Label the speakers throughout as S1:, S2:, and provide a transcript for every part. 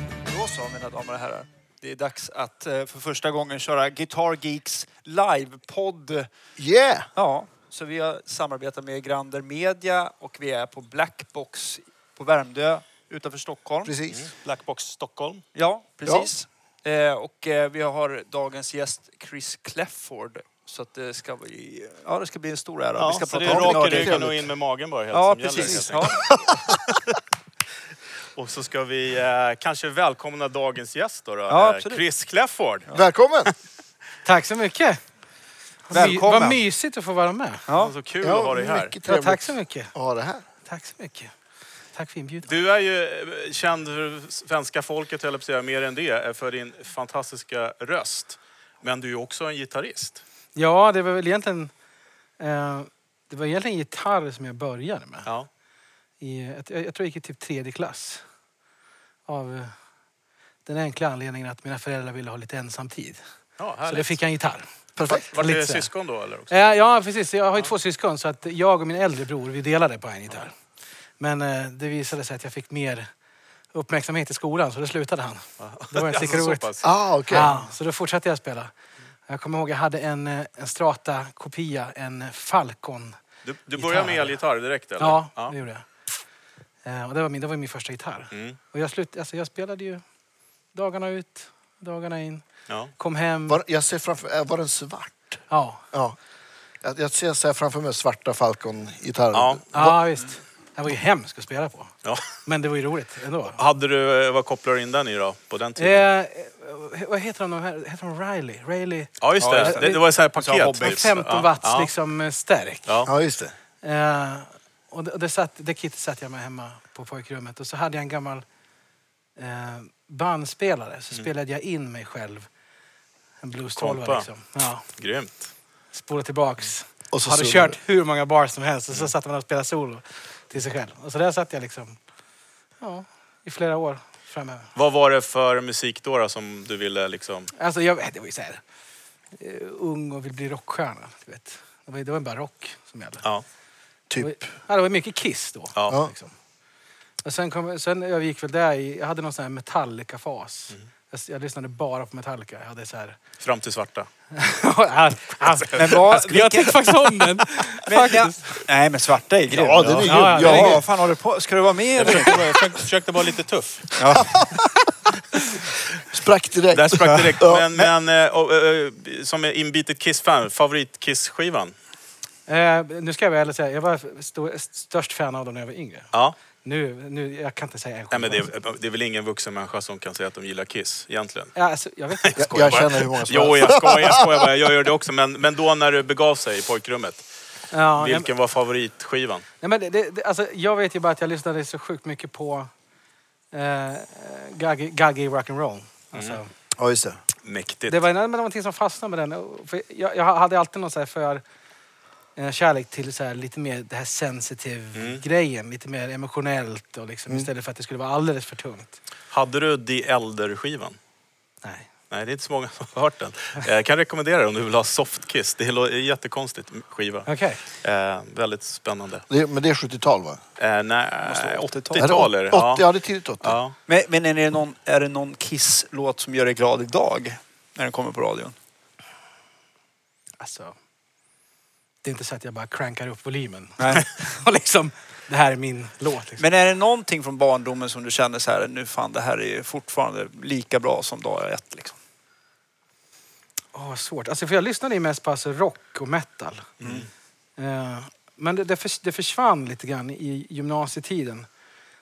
S1: idag mina damer och herrar. Det är dags att eh, för första gången köra Guitar Geeks livepodd.
S2: Yeah!
S1: Ja, så vi har samarbetat med Grander Media och vi är på Blackbox på Värmdö utanför Stockholm.
S2: Precis.
S3: Mm, Blackbox Stockholm.
S1: Ja, precis. Eh, och eh, vi har dagens gäst Chris Clefford. Så att det ska bli, ja, det ska bli en stor ära.
S3: Ja,
S1: vi ska
S3: så det
S1: prata
S3: är
S1: om
S3: rak i
S1: Nordic.
S3: ryggen och in med magen bara helt
S1: Ja,
S3: som
S1: precis.
S3: gäller. helt
S1: Ja,
S3: enkelt. Och så ska vi eh, kanske välkomna dagens gäst då. då
S1: Ja,
S3: eh,
S1: absolut.
S3: Chris Clefford.
S2: Välkommen!
S4: Tack så mycket.
S1: Välkommen.
S4: Välkommen. Vad mysigt att få vara med.
S1: ja.
S3: Så kul att ha dig här.
S2: Mycket
S4: Ja,
S2: trevligt
S4: tack så mycket.
S2: att ha det här.
S4: Tack så mycket. Tack för inbjudan.
S3: Du är ju eh, känd för svenska folket, höll jag på att säga, mer än det, eh, för din fantastiska röst. Men du är ju också en gitarrist.
S4: Ja, det var väl egentligen... Eh, det var egentligen gitarr som jag började med.
S3: Ja.
S4: I, jag, jag tror jag gick i typ tredje klass. Av eh, den enkla anledningen att mina föräldrar ville ha lite ensamtid.
S3: Ja,
S4: Så då
S3: härligt.
S4: fick jag en gitarr.
S2: Perfekt.
S3: Var
S4: lite
S3: det
S4: så här.
S3: syskon då eller? Också?
S4: Eh, ja, precis. Jag har ju två syskon så att jag och min äldre bror vi delade på en gitarr. Men eh, det visade sig att jag fick mer uppmärksamhet i skolan så då slutade han. Det var inte lika
S3: Så
S4: roligt.
S3: pass.
S2: Ah, okej.
S4: Ja, så då fortsatte jag spela. Jag kommer ihåg jag hade en, eh, en Strata-kopia, en Falcon.
S3: Du, du börjar med
S4: Gitarr.
S3: elgitarr direkt eller?
S4: Ja, det gjorde jag. Eh, Och det, var min, det var min första gitarr.
S3: Mm.
S4: Och jag, slut, alltså jag spelade ju dagarna ut, dagarna in.
S3: ja.
S4: Kom hem.
S2: Var, jag ser framför äh, var den svart?
S4: Ja,
S2: Ja. Jag, jag ser så här framför mig svarta Falcon-gitarrer.
S3: Ja.
S4: ja visst. Det var ju hemskt att spela på.
S3: ja.
S4: Men det var ju roligt ändå.
S3: Hade du, eh, vad kopplar du in den i då, på den
S4: Eh,
S3: tiden?
S4: eh, vad heter de här? Heter de Riley? Riley?
S3: Ja, just
S1: Ja,
S3: det.
S1: just
S4: det.
S3: det. Det var så här paket.
S1: hobby.
S3: typ.
S4: 15
S3: Ja,
S4: watts
S3: ja.
S4: liksom eh, stärkt.
S3: Ja.
S2: ja, just det.
S4: Eh, och det, och det, satt, det kittet satt jag med hemma på pojkrummet. Och så hade jag en gammal eh, bandspelare. Så spelade jag in mig själv. En blues-tolva
S3: Kompa.
S4: liksom. Ja,
S3: Grymt.
S4: spola tillbaks.
S2: Och
S4: Och
S2: så
S4: så hade
S2: solo.
S4: kört hur många bars som helst. Och så satt man och spelade solo till sig själv. Och så där satt jag liksom ja, i flera år framöver.
S3: Vad var det för musik då, då som du ville liksom...
S4: Alltså jag, det var ju så här, eh, ung och vill bli rockstjärna. Du vet. Det, var, ju- det var ju bara rock som gällde.
S3: Ja. typ.
S4: Det var ju-
S2: Typ.
S4: Ja, det var ju mycket Kiss då.
S3: Ja.
S2: Ja.
S4: Liksom. Och sen, kom, sen jag gick väl där i, jag hade någon sån här Metallica-fas.
S3: Mm.
S4: Jag, jag lyssnade bara på Metallica. Jag hade så här...
S3: Fram till svarta.
S4: Ja, ja, men
S1: vad-
S4: vad, jag tänkte faktiskt om den.
S1: Men, ja.
S4: faktiskt.
S1: Nej, men svarta är grym.
S2: Ja, den är grym.
S1: Ja,
S2: Ja.
S1: vad fan håller du på? Ska du vara med?
S3: Jag
S1: Eller?
S3: försökte, vara- jag försökte- försökte vara lite tuff.
S2: Sprack direkt.
S3: Där sprack direkt.
S2: Ja.
S3: Men, men eh, och, eh, som är inbitet Kiss-fan, favorit Kiss-skivan?
S4: Eh, nu ska jag väl säga, jag var stor, störst fan av dem när jag var yngre.
S3: Ja.
S4: Nu, nu, jag kan inte säga en
S3: Nej, men det,
S4: skiva.
S3: är- det är väl ingen vuxen människa som kan säga att de gillar Kiss egentligen?
S4: Ja, alltså, jag vet inte.
S2: Jag, jag känner hur många som
S3: Jo, jag skojar, jag skojar bara. Jag gör det också. Men, men då när det begav sig i pojkrummet,
S4: Ja, nej, men-
S3: vilken var favoritskivan?
S4: Nej, men det, det, det- alltså, jag vet ju bara att jag lyssnade så sjukt mycket på eh, Gaggy Gaggy Rock'n'Roll. Alltså,
S2: Ja, just det.
S3: Mäktigt.
S4: Det var nej, men det var någonting som fastnade med den. Och För jag, jag hade alltid någon så här för eh, kärlek till så här, lite mer det här sensitive grejen. Lite mer emotionellt och liksom, istället för att det skulle vara alldeles för tungt.
S3: Hade du The Elder-skivan?
S4: Nej.
S3: Nej, det är inte så många som har hört den. Eh, Jag kan rekommendera den om du vill ha Softkiss. Det är lo- är jättekonstigt skiva.
S4: Okej.
S3: Eh, väldigt spännande.
S2: det. Men det är 70-tal, va?
S3: Eh, nej,
S1: vara 80-tal.
S3: 80-tal är det.
S2: Ja,
S3: Ja.
S2: ja, det är tidigt 80.
S3: Ja.
S1: Men, men är, det någon, är det någon Kiss-låt som gör dig glad idag? När den kommer på radion?
S4: Alltså, det är inte så att jag bara crankar upp volymen.
S1: Nej.
S4: och liksom, det här är min låt. Liksom.
S1: Men är det någonting från barndomen som du känner så här, nu fan det här är ju fortfarande lika bra som dag ett liksom?
S4: Åh, vad svårt. Alltså, för jag lyssnade ju mest på alltså, rock och metal. Eh, men det, det, förs- det försvann lite grann i gymnasietiden.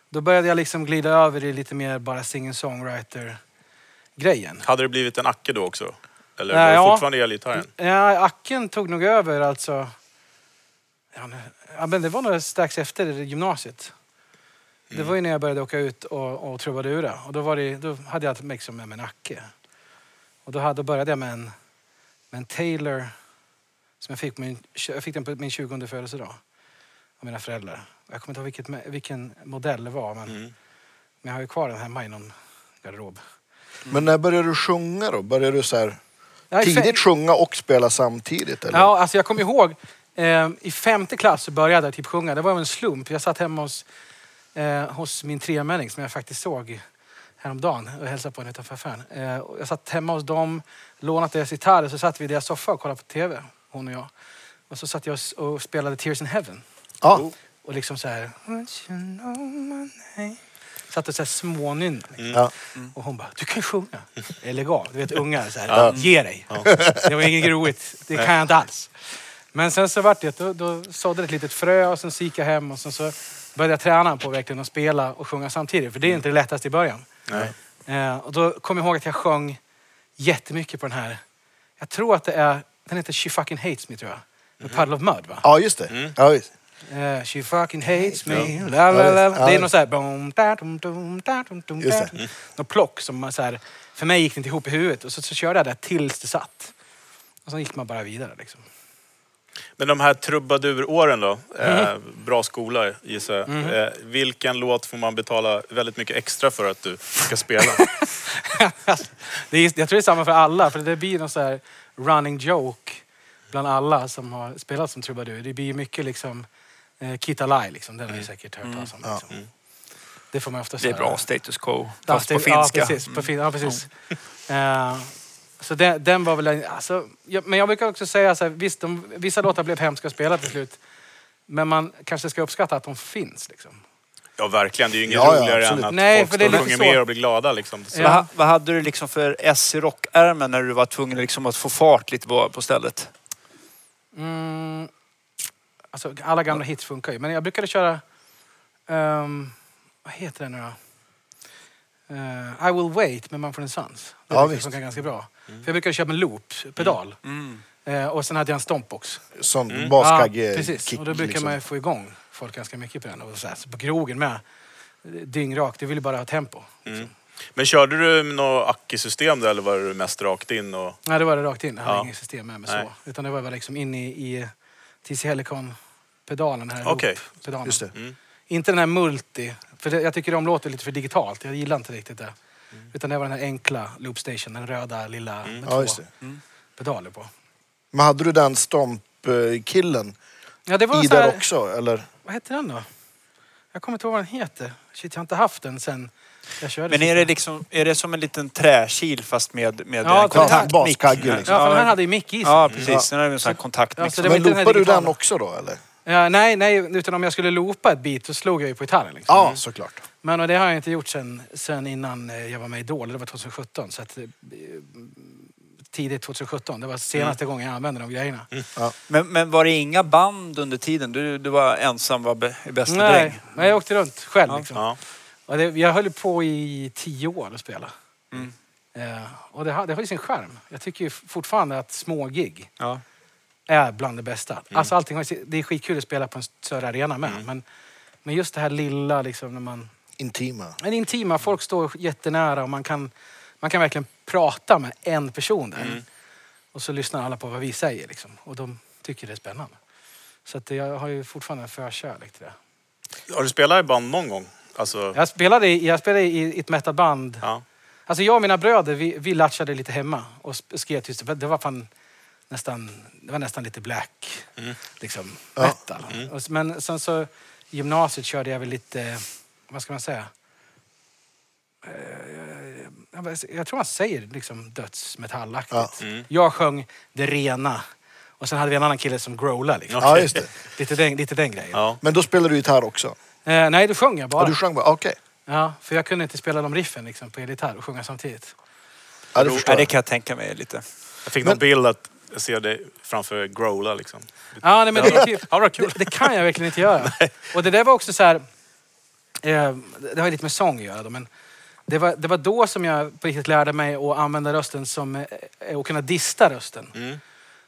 S4: Då började jag liksom glida över i lite mer bara singer-songwriter-grejen.
S3: Hade det blivit en Acke då också? Eller
S4: Nej,
S3: var det
S4: ja.
S3: fortfarande elgitarren?
S4: Ja, Acken tog nog över alltså. Ja, nu- ja, men det var nog strax efter gymnasiet. Det var ju när jag började åka ut och, och trubadura. Och då, var det, då hade jag liksom med mig en Acke. Och då, hade, då började jag med en, med en Taylor. Som jag, fick på min, jag fick den på min 20 födelsedag. Av mina föräldrar. Jag kommer inte ihåg vilket, mä- vilken modell det var. Men,
S3: Mm.
S4: men jag har ju kvar den hemma i någon garderob.
S2: Men när började du sjunga då? Började du så här
S4: Ja, i fe-
S2: tidigt sjunga och spela samtidigt? Eller?
S4: Ja, alltså jag kommer ihåg eh, i femte klass så började jag typ sjunga. Det var en slump. Jag satt hemma hos, eh, hos min tremänning som jag faktiskt såg häromdagen och hälsade på henne utanför affären. Eh, och jag satt hemma hos dem, lånat deras gitarrer, så satt vi i deras soffa och kollade på TV, hon och jag. Och så satt jag och- och spelade Tears in Heaven.
S2: Ja.
S4: Och liksom så här... "Won't you know my name?" Satt och så här smånynna. Liksom.
S2: Ja.
S4: Och hon bara, du kan ju sjunga. Eller legal. Du vet ungar så här, ge dig. Det var inget roligt. Det kan jag inte alls. Men sen så vart det, då, då sådde det ett litet frö och sen så gick jag hem och sen så började jag träna på verkligen att spela och sjunga samtidigt. För det är inte det lättaste i början.
S3: Nej.
S4: Eh, och då kom jag ihåg att jag sjöng jättemycket på den här. Jag tror att det är, den heter She fucking hates me tror jag. Med Puddle of Mud va?
S2: ja, just det.
S3: Mm.
S2: Ja, visst.
S4: Eh, she fucking hates me. La, la, la, la. Det är någon så här... Boom, da, dum, dum, da, dum, dum,
S2: Just
S4: da,
S2: det. Mm.
S4: dum. Någon plock som man så här... För mig gick det inte ihop i huvudet. Och så, så körde jag det tills det satt. Och sen gick man bara vidare liksom.
S3: Men de här trubaduråren då,
S4: Mm.
S3: eh, bra skola gissar jag. Eh, vilken låt får man betala väldigt mycket extra för att du ska spela?
S4: det är, jag tror det är samma för alla. För det blir någon så här running joke bland alla som har spelat som trubadur. Det blir mycket liksom... Eh, Kitalai liksom. Den har
S2: Mm.
S4: ni säkert hört talas om. Liksom. Det får man ofta
S1: Det är
S4: höra.
S1: bra status quo,
S4: Ja,
S1: fast på
S4: det- ja,
S1: finska. Mm.
S4: precis, på fin, ja, precis. Eh, så den, den var väl... en- Alltså, jag, men jag brukar också säga så här, visst, de, vissa låtar blev hemska att spela till slut. Men man kanske ska uppskatta att de finns. Liksom.
S3: Ja, verkligen. Det är ju inget
S2: Ja, ja,
S3: roligare än
S2: absolut.
S3: att
S4: Nej,
S3: folk
S4: för det är
S3: står och
S4: lite
S3: sjunger
S4: så.
S3: med och blir glada. Liksom. Så.
S1: Vad,
S4: Ja.
S1: ha- vad hade du liksom för S i rockärmen när du var tvungen liksom att få fart lite på, på stället?
S4: Mm, alltså, alla gamla hits funkar ju. Men jag brukade köra... ehm, vad heter den nu då? Eh, I will wait med Mumford Sons.
S2: Ja,
S4: Den tycker jag
S2: visst.
S4: funkar ganska bra.
S1: Mm.
S4: För jag brukade köra med loop, pedal. Eh, och sen hade jag en stompbox.
S2: Som
S3: Mm.
S4: Ja,
S2: baskagge
S4: Ah, precis.
S2: kick,
S4: och då brukar
S2: liksom.
S4: man ju få igång folk ganska mycket på den. Och så här, så på krogen med. Dyngrak, det vill ju bara ha tempo.
S3: Mm. Men körde du något Aki-system där eller var du mest rakt in? Och...
S4: Nej, det var det rakt in. Jag hade
S3: Ja.
S4: inget system med mig
S3: Nej.
S4: så. Utan det var bara liksom in i, i TC Helicon-pedalen här.
S3: Okej.
S4: loop-pedalen.
S2: Just det.
S3: Mm.
S4: Inte den här multi. För det, jag tycker de låter lite för digitalt. Jag gillar inte riktigt det. Utan det var den här enkla loopstation, den röda lilla med
S2: Mm. Ja, just
S4: två
S2: det.
S4: pedaler på.
S2: Men hade du den stomp-killen
S4: Ja, det var
S2: i
S4: så här,
S2: där också? Eller?
S4: Vad hette den då? Jag kommer inte ihåg vad den heter. Shit, jag har inte haft den sen jag körde.
S1: Men
S4: sist.
S1: är det, liksom, är det som en liten träkil fast med, med
S4: Ja,
S1: en
S4: kontakt-
S1: kontaktmick?
S2: baskagge liksom.
S4: Ja, för den här hade ju mick i sig.
S1: Ja,
S2: Ja.
S1: precis. Den hade en sån här
S4: Ja,
S1: kontaktmick.
S4: så det var
S2: Men
S4: inte den här
S2: loopade du
S4: digitala.
S2: den också då eller?
S4: Ja, nej, nej, utan om jag skulle loopa ett bit så slog jag ju på gitarren. Liksom.
S2: Ja, såklart.
S4: Men och det har jag inte gjort sen, sen innan eh, jag var med i Idol, det var 2017. Så att, eh, tidigt 2017, det var senaste gången jag använde de grejerna.
S1: Men, men var det inga band under tiden? Du, du var ensam var be, i bästa dräng?
S4: Nej, men jag åkte runt själv. Liksom.
S3: Ja.
S4: Och det, jag höll på i tio år att spela.
S1: Mm.
S4: Eh, och det, har- det har ju sin charm. Jag tycker ju fortfarande att små gig
S1: Ja.
S4: är bland det bästa. Alltså allting, har ju sin- det är skitkul att spela på en större arena med. Men, men just det här lilla, liksom, när man...
S2: Intima.
S4: Men intima, folk står jättenära och man kan, man kan verkligen prata med en person där. Och så lyssnar alla på vad vi säger liksom. Och de tycker det är spännande. Så att jag har ju fortfarande en förkärlek till det.
S3: Har du spelat i band någon gång? Alltså,
S4: Jag spelade, i- jag spelade i ett metalband.
S3: ja.
S4: Alltså jag och mina bröder, vi, vi latchade lite hemma och sp- skrev tyst. Det var- Det var fan nästan, det var nästan lite black, liksom, metal. Och s- Men sen så, i gymnasiet körde jag väl lite, vad ska man säga? Eh, jag- jag- Jag tror man säger liksom dödsmetallaktigt. Jag sjöng det rena. Och sen hade vi en annan kille som growlade. Liksom.
S2: Ja, just det.
S4: Lite, den, lite den grejen.
S3: Ja.
S2: Men då spelade du gitarr också?
S4: Eh, nej, då sjöng jag bara.
S2: Ja, du sjöng bara? Okej.
S4: Ja, för jag kunde inte spela de riffen liksom, på elgitarr och sjunga samtidigt.
S2: Ja, det
S1: Nej,
S2: förstår
S1: det
S2: jag.
S1: kan jag tänka mig lite.
S3: Jag fick
S2: Men-
S3: någon bild att jag ser dig framför growla liksom.
S4: Ja, nej, men det, är typ,
S3: Ja, vad kul.
S4: det, det kan jag verkligen inte göra. Och det där var också så här... Eh, det har ju lite med sång att göra då, men det var, det var då som jag på riktigt lärde mig att använda rösten som... eh, eh, Och kunna dista rösten.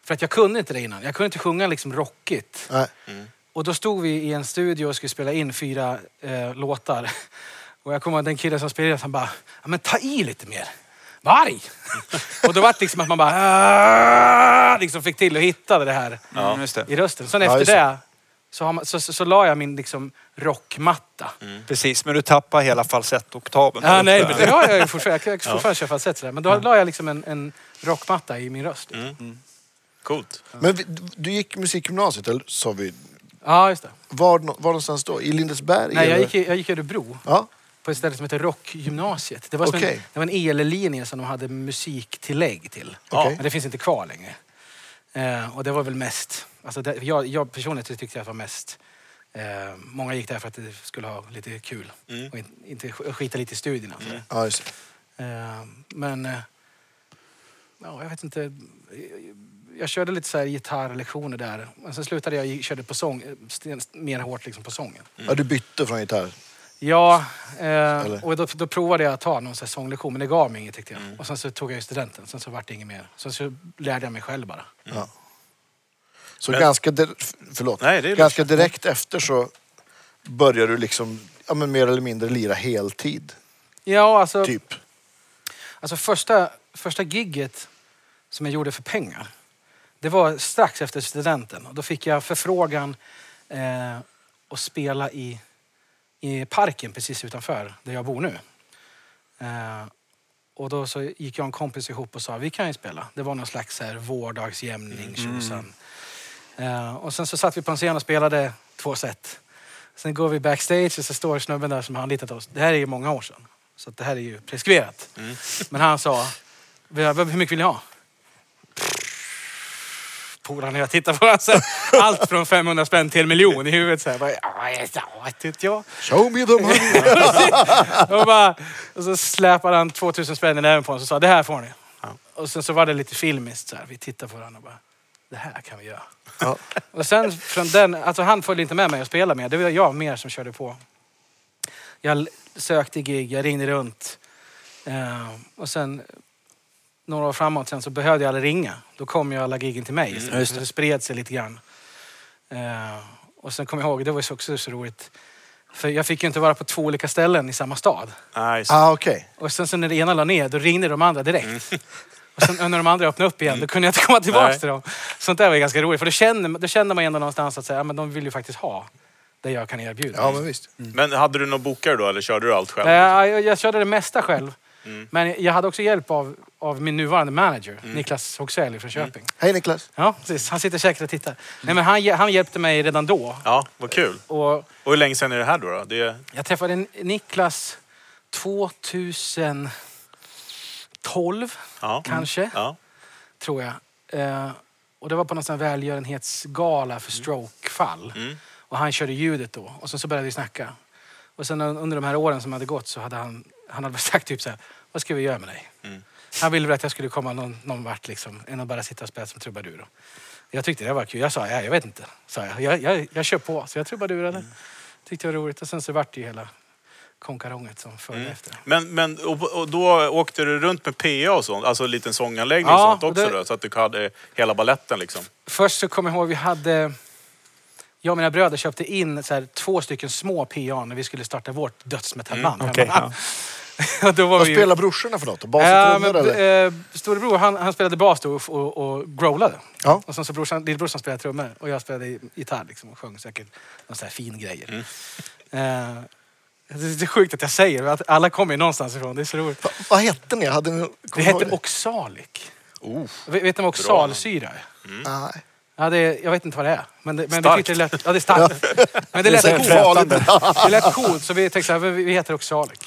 S4: För att jag kunde inte det innan. Jag kunde inte sjunga liksom rockigt.
S2: Nej.
S4: Och då stod vi i en studio och skulle spela in fyra eh, låtar. Och jag kommer ihåg den killen som spelade, han bara, ja men ta i lite mer. Var arg! och då var det liksom att man bara, "Ah!" liksom fick till och hittade det här
S1: Mm, just det.
S4: i rösten. Sen
S2: Ja,
S4: efter
S2: just det.
S4: det så, har man, så, så, så la jag min liksom rockmatta.
S5: Mm.
S1: Precis, men du tappar hela falsettoktaven.
S4: Ja, nej, men det har jag ju fortfarande. Jag kan fortfarande köra falsett sådär. Men då la jag liksom en, en rockmatta i min röst. liksom.
S3: Coolt.
S2: Men vi- du gick musikgymnasiet, eller sa vi?
S4: Ja, just det.
S2: Var, nå- var någonstans då? I Lindesberg?
S4: Nej, jag
S2: eller?
S4: gick, i- jag gick i Örebro
S2: Ja,
S4: på ett ställe som heter Rockgymnasiet. Det var, som en,
S2: Okej.
S4: det var en ellinje som de hade musiktillägg till.
S2: Okej.
S4: Men det finns inte kvar längre. Eh, och det var väl mest... Alltså det, jag, jag personligen tyckte jag att det var mest... Eh, många gick där för att det skulle ha lite kul
S3: Mm.
S4: och in, inte sk- skita lite i studierna. och sådär.
S2: Ja, just det.
S4: Eh, men... Eh, ja, jag vet inte. Jag körde lite så här gitarrlektioner där. Men sen slutade jag i- körde på sång, eh, sten- mer hårt liksom på sången.
S2: Ja, du bytte från gitarr.
S4: Mm. Ja, eh,
S2: Eller? Mm.
S4: och då, då provade jag att ta någon så här sånglektion, men det gav mig inget tyckte jag. Och sen så tog jag ju studenten, sen så vart det inget mer. Sen så lärde jag mig själv bara.
S2: Ja. Så
S3: Men-
S2: ganska, di- f- förlåt.
S3: Nej, det är
S2: ganska direkt efter så börjar du liksom ja, men mer eller mindre lira heltid.
S4: Ja, alltså,
S2: Typ.
S4: alltså första, första gigget som jag gjorde för pengar, det var strax efter studenten. Och då fick jag förfrågan eh, att spela i, i parken precis utanför där jag bor nu. Eh, och då så gick jag och en kompis ihop och sa vi kan ju spela. Det var någon slags så här vårdagsjämning, tjosan. Eh, och sen så satt vi på en scen och spelade två set. Sen går vi backstage och så står snubben där som har anlitat oss. Det här är ju många år sedan. Så att det här är ju preskriberat. Men han sa, "Vi- vi- hur mycket vill ni ha? Polarna jag tittar på honom. så här, Allt från 500 spänn till en miljon i huvudet. Så här, bara, "Ja, ja, vet inte jag.
S2: Show me the money!
S4: Och, bara, och så släpade han 2000 spänn i näven på oss och sa det här får ni. Och sen så var det lite filmiskt så här. Vi tittade på varandra och bara det här kan vi göra.
S2: Ja.
S4: Och sen från den, alltså han följde inte med mig och spelade med. Det var jag mer som körde på. Jag l- sökte gig, jag ringde runt. Eh, och sen några år framåt sen så behövde jag aldrig ringa. Då kom ju alla giggen till mig. istället.
S1: just
S4: Så det spred sig lite grann. Eh, och sen kom jag ihåg, det var ju också så roligt. För jag fick ju inte vara på två olika ställen i samma stad.
S3: Nej, just det.
S2: Ah, okej.
S4: Och sen så när det ena la ner, då ringde de andra direkt. Och sen och när de andra öppnade upp igen, då kunde jag inte komma tillbaka
S3: Nej.
S4: till dem. Sånt där var ju ganska roligt, för då kände, då kände man ändå någonstans att säga, ja, men de vill ju faktiskt ha det jag kan erbjuda.
S2: Ja, men visst.
S3: Men hade du någon bokare då eller körde du allt själv?
S4: Eh, jag, jag körde det mesta själv. Men jag hade också hjälp av, av min nuvarande manager, Niklas Hoxell från Köping.
S2: Hej Niklas.
S4: Ja, precis. Han sitter säkert och tittar. Nej, men han, hj- han hjälpte mig redan då.
S3: Ja, vad kul.
S4: Och
S3: Och hur länge sedan är det här då? då? Det är
S4: Jag träffade N- Niklas 2012,
S3: Ja.
S4: kanske,
S3: Ja.
S4: tror jag. Eh, och det var på någon sån här välgörenhetsgala för strokefall. Och han körde ljudet då. Och sen så började vi snacka. Och sen un- under de här åren som hade gått så hade han, han hade sagt typ så här, vad ska vi göra med dig? Han ville väl att jag skulle komma någon, någon vart liksom, än att bara sitta och spela som trubadur. då. Jag tyckte det var kul. Jag sa, ja, jag vet inte. Sa jag. Jag, jag, jag kör på. Så jag trubadurade. Tyckte det var roligt. Och sen så vart det ju hela konkaronget som följde efter.
S3: Men, men och, och då åkte du runt med PA och sånt, alltså en liten sånganläggning
S4: Ja,
S3: och sånt också
S4: och det-
S3: då? Så att du hade hela balletten liksom?
S4: Först så kommer jag ihåg vi hade... Jag och mina bröder köpte in så här, två stycken små PA när vi skulle starta vårt dödsmetallband.
S1: okej,
S4: hemma. Och då
S2: Mm,
S4: var
S2: Vad
S4: vi ju...
S2: spelar brorsorna för något? då? Bas och
S4: Ja,
S2: trummor
S4: men,
S2: eller?
S4: eh, storebror han, han spelade bas då och, och, och growlade.
S2: Ja.
S4: Och sen så brorsan, lillebrorsan spelade trummor och jag spelade gitarr liksom, och sjöng säkert någon sån här fin grejer.
S2: Mm.
S4: Eh, det är så sjukt att jag säger det, att alla kommer ju någonstans ifrån. Det är så roligt.
S2: Va, vad hette ni? Hade ni kommer
S4: Det
S2: ni ihåg
S4: hette oxalic.
S3: Oh.
S4: Vet vet ni vad oxalsyra är?
S2: Mm. Nej.
S4: Ja, det, jag vet inte vad det är. Men det, men vi
S3: Starkt.
S4: tyckte det lät, ja, det är starkt. Men det
S2: Det är
S4: lät
S2: säkert
S4: coolt.
S2: farligt.
S4: Det lät coolt, så vi tänkte så här, vi vi heter Oxalic.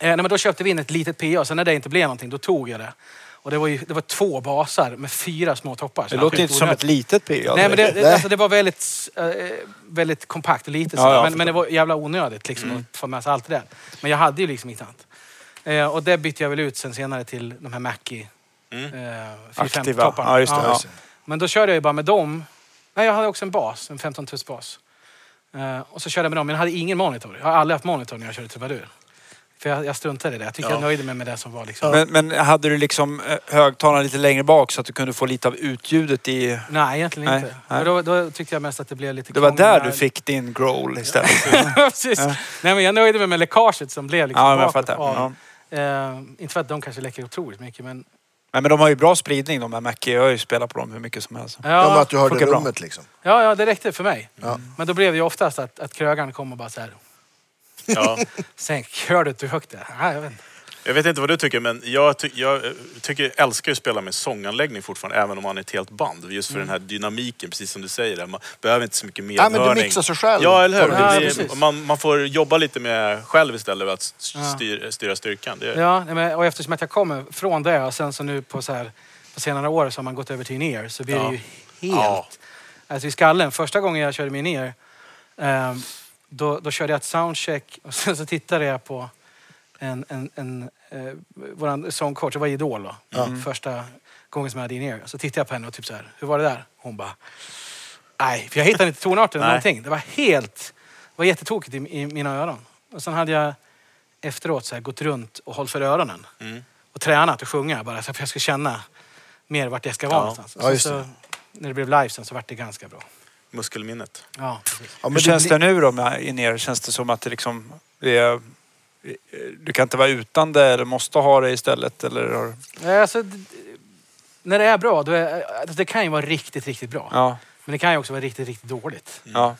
S4: Eh, nej, men då köpte vi in ett litet PA, och sen när det inte blev någonting, då tog jag det. Och det var, ju, det var två basar med fyra små toppar.
S5: Det låter inte som ett litet PA.
S4: Nej, men det,
S5: direkt.
S4: det, alltså, det var väldigt, eh, väldigt kompakt och litet. så.
S5: Ja, Mm. ja,
S4: men,
S5: förstår.
S4: men det var jävla onödigt liksom, att få med sig allt det där. Men jag hade ju liksom inte allt. Eh, och det bytte jag väl ut sen senare till de här Mackie
S3: Mm.
S4: eh,
S5: Aktiva.
S4: 450-topparna.
S5: Ja, just det. Ja.
S4: Men då körde jag ju bara med dem. Nej, jag hade också en bas, en 15 tums bas. Eh, och så körde jag med dem, men jag hade ingen monitor. Jag har aldrig haft monitor när jag körde trubadur. För jag, jag struntade i det. Jag tyckte
S3: Ja.
S4: jag nöjde mig med det som var liksom.
S5: Men, men hade du liksom eh, högtalaren lite längre bak så att du kunde få lite av utljudet i...
S4: Nej, egentligen
S5: Nej,
S4: inte.
S5: nej.
S4: Men Då, då tyckte jag mest att det blev lite
S5: Det var där
S4: krångel
S5: du fick din growl istället.
S4: Precis. Nej, men jag nöjde mig med läckaget som blev liksom
S5: Ja, men jag
S4: bakåt
S5: fattar.
S4: av-
S5: Ja.
S4: Eh, inte för att de kanske läcker otroligt mycket, men...
S5: Nej, men de har ju bra spridning de här Mackie. Jag har ju spelat på dem hur mycket som helst.
S2: Ja, men
S4: Ja,
S2: att du hörde
S5: funkar bra.
S2: rummet liksom.
S4: ja, ja det räckte för mig.
S2: Ja.
S4: Men då blev det ju oftast att, att krögaren kom och bara så här...
S3: Ja.
S4: Sänk, hör du inte hur högt det är? Nej, Ah, jag vet inte.
S3: Jag vet inte vad du tycker, men jag, ty- jag eh, tycker, älskar ju att spela med sånganläggning fortfarande, även om man är ett helt band. Just för den här dynamiken, precis som du säger. Där. Man behöver inte så mycket
S2: Nej, men
S3: medhörning.
S2: du mixar sig själv.
S3: Ja, eller hur?
S4: Ja,
S3: Det blir-
S4: precis.
S3: man, man får jobba lite med själv istället för att s-
S4: Ja.
S3: styr, styra styrkan. Det,
S4: Ja, nej, men, och eftersom att jag kommer från det och sen så nu på, så här, på senare år så har man gått över till in-ear så blir
S3: Ja.
S4: det ju helt...
S3: Ja.
S4: Alltså i skallen, första gången jag körde min in-ear ehm, då, då körde jag ett soundcheck och sen så tittade jag på en, en, en eh, våran sångcoach, det var Idol då, Mm. första gången som jag hade in-ear. Så tittade jag på henne och typ så här, hur var det där? Hon bara, nej, för jag hittade inte tonarten eller
S3: Nej.
S4: någonting. Det var helt, det var jättetokigt i, i mina öron. Och sen hade jag efteråt så här, gått runt och hållit för öronen
S3: Mm.
S4: och tränat och sjunga bara så att jag ska känna mer vart jag ska vara
S3: Ja.
S4: någonstans. Och
S2: Ja,
S4: sen
S2: just
S4: så, när det blev live sen så vart det ganska bra.
S3: Muskelminnet.
S4: Ja, precis.
S2: Ja, men
S5: Hur känns
S2: blir-
S5: det nu då med in er? Känns det som att det liksom det är, du kan inte vara utan det eller måste ha det istället? Eller har,
S4: Eh, Alltså, d- när det är bra, då är, alltså, det kan ju vara riktigt, riktigt bra.
S5: ja,
S4: Men det kan ju också vara riktigt, riktigt dåligt.
S3: Mm.
S5: ja. Mm.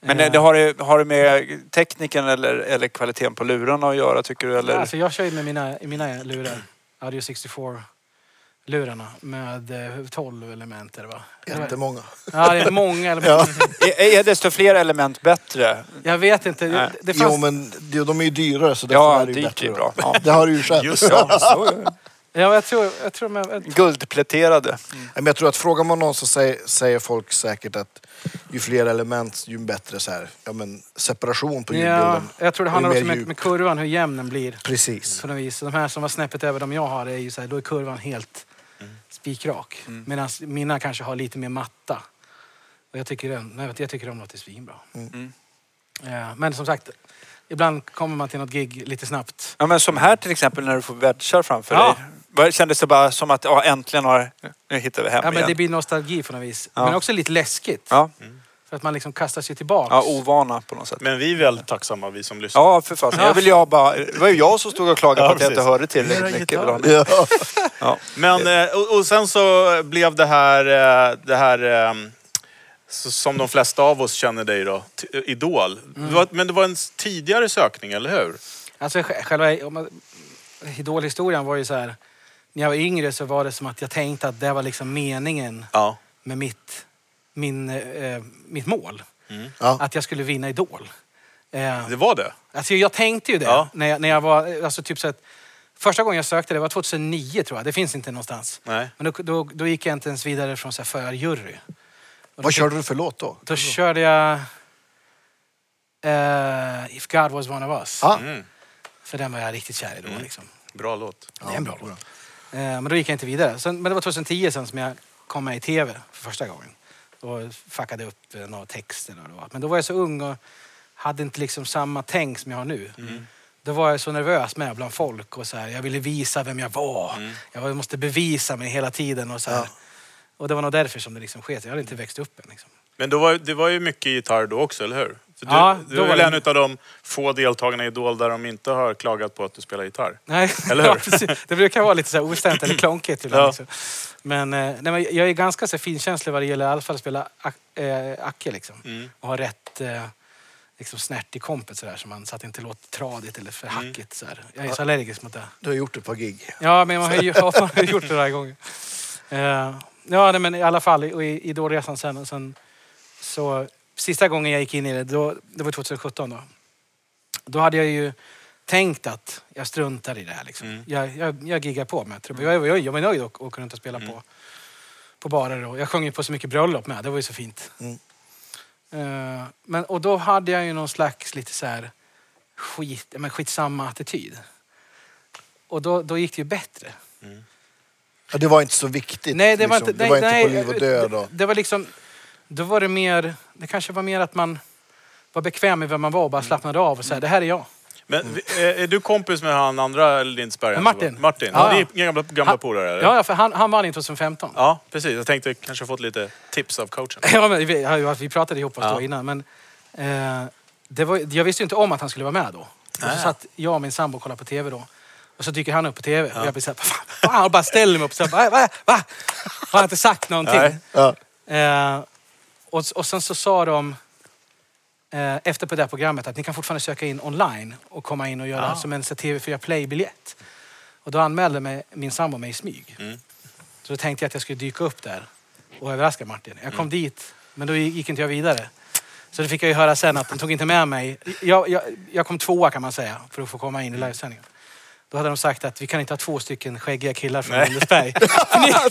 S5: Men
S4: Eh,
S5: det, det har, det, har det med tekniken eller, eller kvaliteten på lurarna att göra tycker du? Eller?
S4: Alltså, jag kör ju med mina, i mina lurar, Audio 64-lurarna, med eh, 12 elementer va?
S2: Inte många.
S4: Ja, det är många element.
S2: Ja.
S5: Är, är desto fler element bättre?
S4: Jag vet inte. Det,
S5: Nej.
S4: det fanns,
S2: Jo, men de de är ju dyrare så därför
S5: Ja,
S2: är det ju
S5: dyrt är
S2: bättre.
S5: ju
S2: då.
S5: bra. Ja.
S2: Det har du ju själv.
S3: Just
S5: Ja, så är det.
S4: ja, jag tror... Jag tror med,
S5: Guldpläterade.
S2: Nej, Men jag tror att frågar man någon så säger, säger folk säkert att ju fler element ju bättre så här, ja, men separation på
S4: ja,
S2: ljudbilden.
S4: jag tror det
S2: Och ju
S4: handlar
S2: mer
S4: också med,
S2: djup.
S4: med kurvan, hur jämn den blir.
S2: Precis.
S4: på något vis. De här som var snäppet över de jag har, är ju så här, då är kurvan helt spikrak. Medan mina kanske har lite mer matta. Och jag tycker, den, nej, vet du, jag tycker de låter svinbra.
S5: Mm.
S4: Ja, men som sagt, ibland kommer man till något gig lite snabbt.
S5: Ja, men som här till exempel när du får wedgar framför
S4: Ja.
S5: dig. Vad- Kändes det bara som att ja, äntligen har... Nu hittar vi hem
S4: Ja, men
S5: igen.
S4: det blir nostalgi på något vis.
S5: Ja.
S4: Men också lite läskigt.
S5: ja.
S4: För att man liksom kastar sig tillbaks.
S5: ja, ovana på något sätt.
S3: Men vi är väldigt tacksamma, vi som lyssnar.
S5: Ja, för fasen. Jag vill ju ha bara... Det var ju jag som stod och klagade
S3: Ja,
S5: på att jag inte
S3: precis.
S5: hörde tillräckligt
S3: Mera
S5: mycket.
S3: gitarr.
S5: Vill ha mer.
S2: Ja.
S3: Men, eh, och, och sen så blev det här, eh, det här eh, så, som de flesta av oss känner dig då, t- Idol. Det var, men det var en s- tidigare sökning, eller hur?
S4: Alltså sj- själva om man- idolhistorien var ju så här. När jag var yngre så var det som att jag tänkte att det var liksom meningen
S3: Ja.
S4: med mitt, min, eh, mitt mål.
S2: Ja.
S4: Att jag skulle vinna Idol. Eh,
S3: Det var det?
S4: alltså jag tänkte ju det.
S3: Ja.
S4: När, jag, när jag var, alltså typ så att, första gången jag sökte det var 2009 tror jag. Det finns inte någonstans.
S3: Nej.
S4: Men då, då, då gick jag inte ens vidare från så här förjury.
S2: Vad körde du för låt då?
S4: Då körde jag eh, If God Was One of Us.
S2: Ja.
S3: Mm.
S4: För den var jag riktigt kär i då. Liksom.
S3: Bra låt.
S4: Det är en bra låt. Eh, men då gick jag inte vidare. Sen, men det var 2010 sen som jag kom med i tv för första gången. Och fuckade upp eh, några texter. eller vad det var. Men då var jag så ung och hade inte liksom samma tänk som jag har nu.
S3: Mm.
S4: Då var jag så nervös med bland folk. Och så här, jag ville visa vem jag var.
S3: Mm.
S4: Jag var- måste bevisa mig hela tiden. Och, så här. och det var nog därför som det liksom sket. Jag hade inte växt upp än. Liksom.
S3: Men då var, det var ju mycket gitarr då också, eller hur? För du,
S4: Ja,
S3: du
S4: då
S3: är
S4: var
S3: väl
S4: det-
S3: en av de få deltagarna i Idol där de inte har klagat på att du spelar gitarr?
S4: Nej,
S3: Eller hur?
S4: ja, precis. det brukar vara lite så här ostämt eller klonkigt ibland.
S3: Ja.
S4: Liksom. Men, eh, nej, men jag är ganska så här finkänslig vad det gäller i alla fall att spela ak- eh, acke. Liksom.
S3: Mm.
S4: Och ha rätt eh, liksom snärt i kompet så, där, så, man, så att det inte låter tradigt eller för hackigt. Så här. Jag är så allergisk mot det.
S2: Du har gjort ett par gig.
S4: Ja, men man har ju man har ju gjort det några gånger. Eh, ja, nej, men i alla fall i, i idolresan sen, och sen så sista gången jag gick in i det, då, det var 2017 då. Då hade jag ju tänkt att jag struntar i det här liksom.
S3: Mm.
S4: Jag, jag, jag giggar på med trubbor. Jag, jag, jag var nöjd och åka runt och spela på, på barer och jag sjöng ju på så mycket bröllop med. Det var ju så fint.
S2: Mm.
S4: Eh, men, och då hade jag ju någon slags lite så här skit, ja, men skitsamma attityd. Och då, då gick det ju bättre.
S2: Ja, det var inte så viktigt.
S4: Nej, det var
S2: liksom.
S4: inte, nej,
S2: det var inte
S4: nej,
S2: på liv och död.
S4: Det,
S2: Då.
S4: det var liksom, då var det mer, det kanske var mer att man var bekväm med vem man var och bara slappnade av och sa det här är jag.
S3: Men vi- är, är du kompis med han andra Lindsberg? Alltså,
S4: Martin.
S3: Martin.
S4: Ja,
S3: Ja,
S4: ja.
S3: Ni är gamla, gamla
S4: Han-
S3: polare, eller?
S4: Ja, ja för han, han vann ju 2015. Ja.
S3: Ja, precis. Jag tänkte kanske fått lite tips av coachen.
S4: men vi, ja, ja, vi pratade ihop oss
S3: Ja.
S4: då innan men eh, det var, jag visste ju inte om att han skulle vara med då. Och så
S3: Nej.
S4: satt jag och min sambo och kollade på tv då. Och så dyker han upp på tv och jag blir såhär, fan, fan, och bara ställer mig upp och så här, va, va, va? Har jag inte sagt någonting?
S3: Nej.
S2: Ja.
S4: Eh, och, och sen så sa de eh, efter på det här programmet att ni kan fortfarande söka in online och komma in och göra
S3: Ah.
S4: som en så här TV4 Play-biljett. Och då anmälde mig, min sambo mig i smyg.
S3: Mm.
S4: Så då tänkte jag att jag skulle dyka upp där och överraska Martin. Jag kom dit, men då gick inte jag vidare. Så det fick jag ju höra sen att de tog inte med mig. Jag, jag, jag kom tvåa kan man säga för att få komma in i livesändningen. Då hade de sagt att vi kan inte ha två stycken skäggiga killar från Lindesberg.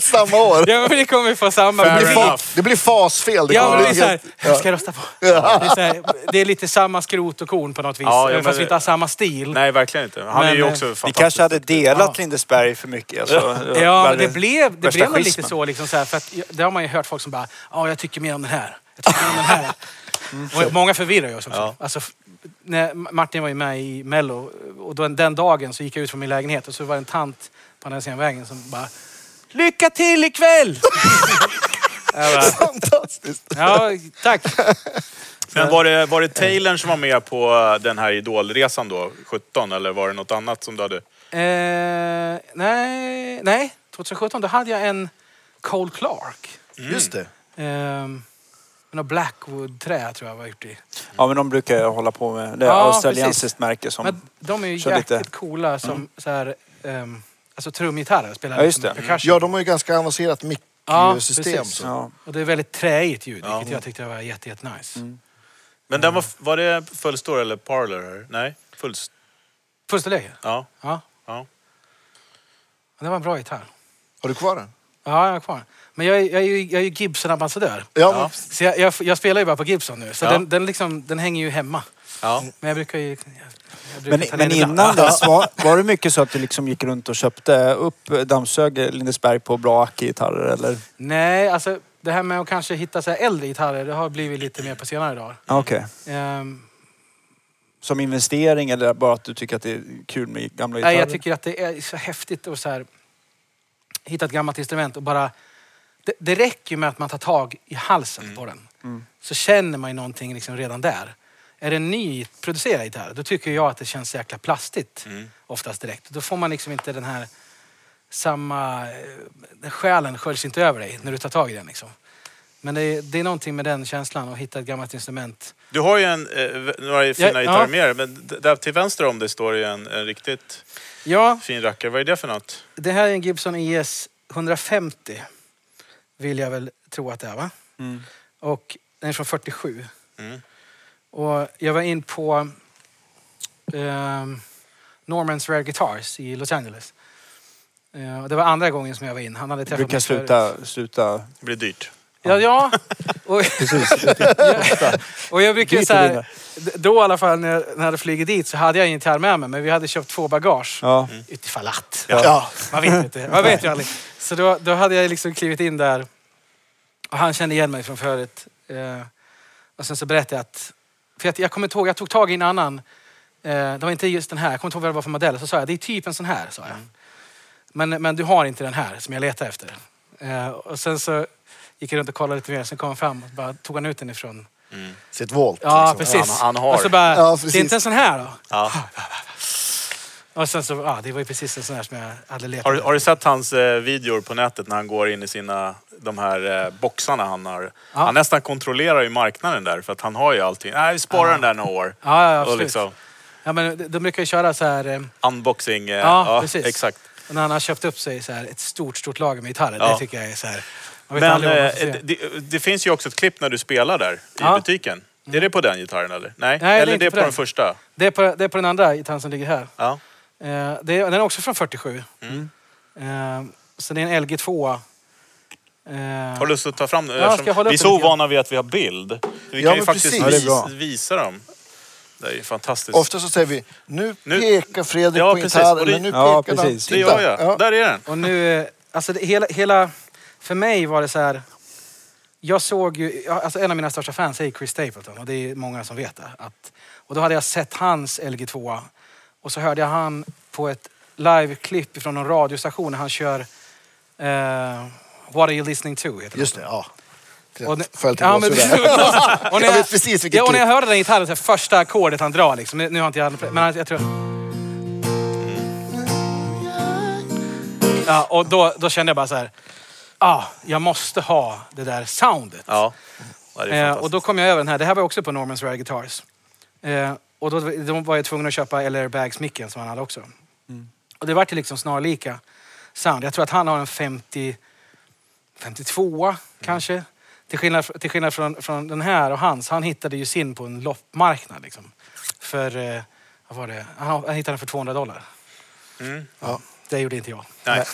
S2: Samma år.
S4: ja, men ni kommer ju få samma
S2: Det blir,
S4: publik.
S2: fa- det blir fasfel. Det
S4: Ja,
S2: kommer
S4: men det är
S2: bli
S4: så här,
S2: helt-
S4: vem ska jag rösta på? Det är, så här, det är lite samma skrot och korn på något vis.
S3: Ja, ja,
S4: även
S3: men-
S4: fast vi inte har samma stil.
S3: Nej, verkligen inte. Han
S4: Men,
S3: är ju
S4: eh,
S3: också
S5: Vi
S3: fantastisk.
S5: kanske hade delat
S4: Ja.
S5: Lindesberg för mycket. Alltså,
S4: Ja, men
S5: Värre-
S4: det blev, det
S5: värsta
S4: blev nog lite
S5: schismen.
S4: så. Liksom, så här, för att, jag- det har man ju hört folk som bara, ja, jag tycker mer om den här. Jag tycker mer om den här. Och många förvirrar ju oss också.
S3: Ja.
S4: Alltså, f- när Martin var ju med i Mello och då, den dagen så gick jag ut från min lägenhet och så var det en tant på andra sidan vägen som bara Lycka till ikväll! Jag bara,
S2: Fantastiskt.
S4: ja, tack.
S3: Men var det, var det Taylorn som var med på eh, den här idolresan då, 17? Eller var det något annat som du hade?
S4: Eh, nej, nej, 2017 då hade jag en Cole Clark.
S2: Just det.
S4: Ehm, några Blackwood-trä tror jag var gjort i.
S5: Ja, men de brukar jag hålla på med. Det är
S4: Ja,
S5: australiensiskt märke som...
S4: Men de är ju
S5: kör
S4: jäkligt
S5: lite- Mm.
S4: coola som så här, ehm, alltså trumgitarrer spelar
S5: Ja, just
S4: liksom
S5: det.
S4: percussion.
S2: Ja, de har ju ganska avancerat
S4: Ja,
S2: mikrosystem.
S4: precis.
S2: så.
S5: Ja.
S4: Och det är väldigt träigt ljud,
S3: Ja.
S4: vilket jag tyckte var jätte, jätte nice.
S5: Mm.
S3: Men den var, var det fullstore eller parlor? eller? Nej, fullst...
S4: Första läget?
S3: Ja.
S4: Ja.
S3: ja.
S4: Och Det var en bra gitarr.
S2: Har du kvar den?
S4: Ja, jag har kvar den. Men jag, är- jag är ju, jag är ju Gibson-ambassadör.
S2: Ja,
S3: Ja.
S4: Så jag, jag, jag spelar ju bara på Gibson nu. Så
S3: Ja.
S4: den, den, liksom, den hänger ju hemma.
S3: ja.
S4: Men jag brukar ju... Jag, jag brukar
S5: Men,
S4: ta ner
S5: men
S4: den ibland.
S5: innan dess, var, var det mycket så att du liksom gick runt och köpte upp, dammsög eh, Lindesberg på bra Aki-gitarrer eller?
S4: Nej, alltså det här med att kanske hitta så här äldre gitarrer, det har blivit lite mer på senare dagar.
S5: Ja, Okej.
S4: Ehm,
S5: Som investering eller bara att du tycker att det är kul med gamla gitarrer?
S4: Nej, jag tycker att det är så häftigt att så här, hitta ett gammalt instrument och bara... Det, det räcker ju med att man tar tag i halsen på den. Så känner man ju någonting liksom redan där. Är det en nyproducerad gitarr, då tycker jag att det känns så jäkla plastigt
S3: Mm.
S4: oftast direkt. Då får man liksom inte den här samma... eh, Den själen sköljs inte över dig när du tar tag i den liksom. Men det är, det är någonting med den känslan att hitta ett gammalt instrument.
S3: Du har ju en, eh, några fina
S4: Ja, ja.
S3: gitarrer med dig, men d- där till vänster om dig står det ju en, en riktigt
S4: Ja,
S3: fin rackare. Vad är det för något?
S4: Det här är en Gibson ES 150. Vill jag väl tro att det är va?
S5: Mm.
S4: Och den är från 47.
S3: Mm.
S4: Och jag var in på ehm, Normans Rare Guitars i Los Angeles. Eh, och det var andra gången som jag var in. Han
S5: Det
S4: hade träffat
S5: brukar
S4: mig förut.
S5: sluta, sluta...
S3: Det blir dyrt.
S4: Ja, ja. Och,
S5: Precis.
S4: jag, och jag brukar ju
S5: Dit
S4: så
S5: och
S4: här,
S5: vinna.
S4: d- då i alla fall när jag, när jag hade flugit dit så hade jag ingen gitarr med mig men vi hade köpt två bagage.
S5: Ja.
S4: Utifall att.
S2: Ja.
S4: Man vet inte. Man vet ju aldrig. Så då, då hade jag liksom klivit in där och han kände igen mig från förut. Eh, och sen så berättade jag att... För jag, jag kommer inte ihåg, jag tog tag i en annan. Eh, det var inte just den här. Jag kommer inte ihåg vad det var för modell. Så sa jag, det är typ en sån här. Sa jag.
S3: Mm.
S4: Men, men du har inte den här som jag letar efter. Eh, och sen så gick jag runt och kollade lite mer. Sen kom han fram och bara tog han ut den ifrån.
S2: Sitt volt.
S4: Ja,
S2: liksom.
S4: precis.
S3: Han- han har.
S4: Och så bara,
S2: Ja, precis.
S4: det är inte en sån här då?
S3: Ja.
S4: Och sen så, ja, det var ju precis en sån här som jag hade letat
S3: Har, du- har du sett hans eh, videor på nätet när han går in i sina, de här eh, boxarna han har? Han nästan kontrollerar ju marknaden där för att han har ju allting. Nej, vi sparar den där några år.
S4: Ja, ja,
S3: Och
S4: absolut.
S3: liksom
S4: Ja, men de- de brukar ju köra så här... eh,
S3: unboxing. eh,
S4: Ja, precis.
S3: Exakt.
S4: När han har köpt upp sig så här, ett stort, stort lager med gitarrer.
S3: Ja.
S4: Det tycker jag är så här... Man vet
S3: Men
S4: aldrig vad man
S3: eh,
S4: får se.
S3: det, det finns ju också ett klipp när du spelar där i
S4: Ja.
S3: butiken. Är det på den gitarren eller? Nej,
S4: Nej, det är
S3: eller
S4: inte
S3: det är
S4: på
S3: på den,
S4: den.
S3: första?
S4: Det, är på, det är på den andra gitarren som ligger här.
S3: Ja. Mm.
S4: Eh, det är, den är också från 47. Eh, så det är en LG2. Eh,
S3: Har du lust att ta fram den?
S4: Ja,
S3: Eftersom
S4: ska jag hålla
S3: vi är
S4: upp
S3: så
S4: den lite grann?
S3: ovana vid att vi har bild. Vi
S2: Ja,
S3: kan ju
S2: men
S3: faktiskt
S2: precis. Ja,
S5: det är bra.
S3: vis, visa dem. Det är ju fantastiskt.
S2: Ofta så säger vi, nu,
S3: Nu-
S2: pekar Fredrik
S3: Ja,
S2: på
S3: precis.
S2: gitarren,
S3: Och det-
S2: men nu
S5: Ja,
S2: pekar han.
S5: precis.
S3: det gör jag.
S2: Ja.
S3: Där är den.
S4: Och nu, eh, alltså det, hela, hela... För mig var det så här... Jag såg ju, ja, alltså en av mina största fans är Chris Stapleton och det är många som vet det. Att, och då hade jag sett hans LG2 och så hörde jag han på ett live-klipp från någon radiostation när han kör eh, What are you listening to? Heter
S2: Just det, ja.
S4: Och när-
S2: Föll till
S4: Ja, men-
S2: gåshud där.
S4: och när
S2: Jag vet precis vilket
S4: ja, och när jag
S2: klipp.
S4: hörde den gitarren, så här, första ackordet han drar liksom. Nu nu har inte jag... Men han- jag tror... Ja, och då, då kände jag bara så här... Ah, jag måste ha det där soundet.
S3: Ja. ja det är
S4: Eh,
S3: fantastiskt.
S4: och då kom jag över den här. Det här var också på Normans Rare
S3: Mm.
S4: Guitars. Eh, och då, då var jag tvungen att köpa LR Bags-micken som han hade också. Och det vart ju liksom snarlika sound. Jag tror att han har en 50, 52
S3: Mm.
S4: kanske. Till skillnad, fr- till skillnad från, från den här och hans. Han hittade ju sin på en loppmarknad liksom. För, eh, vad var det? Han, han hittade den för 200 dollar.
S3: Mm.
S2: Ja.
S4: Det gjorde inte jag.
S3: Nej.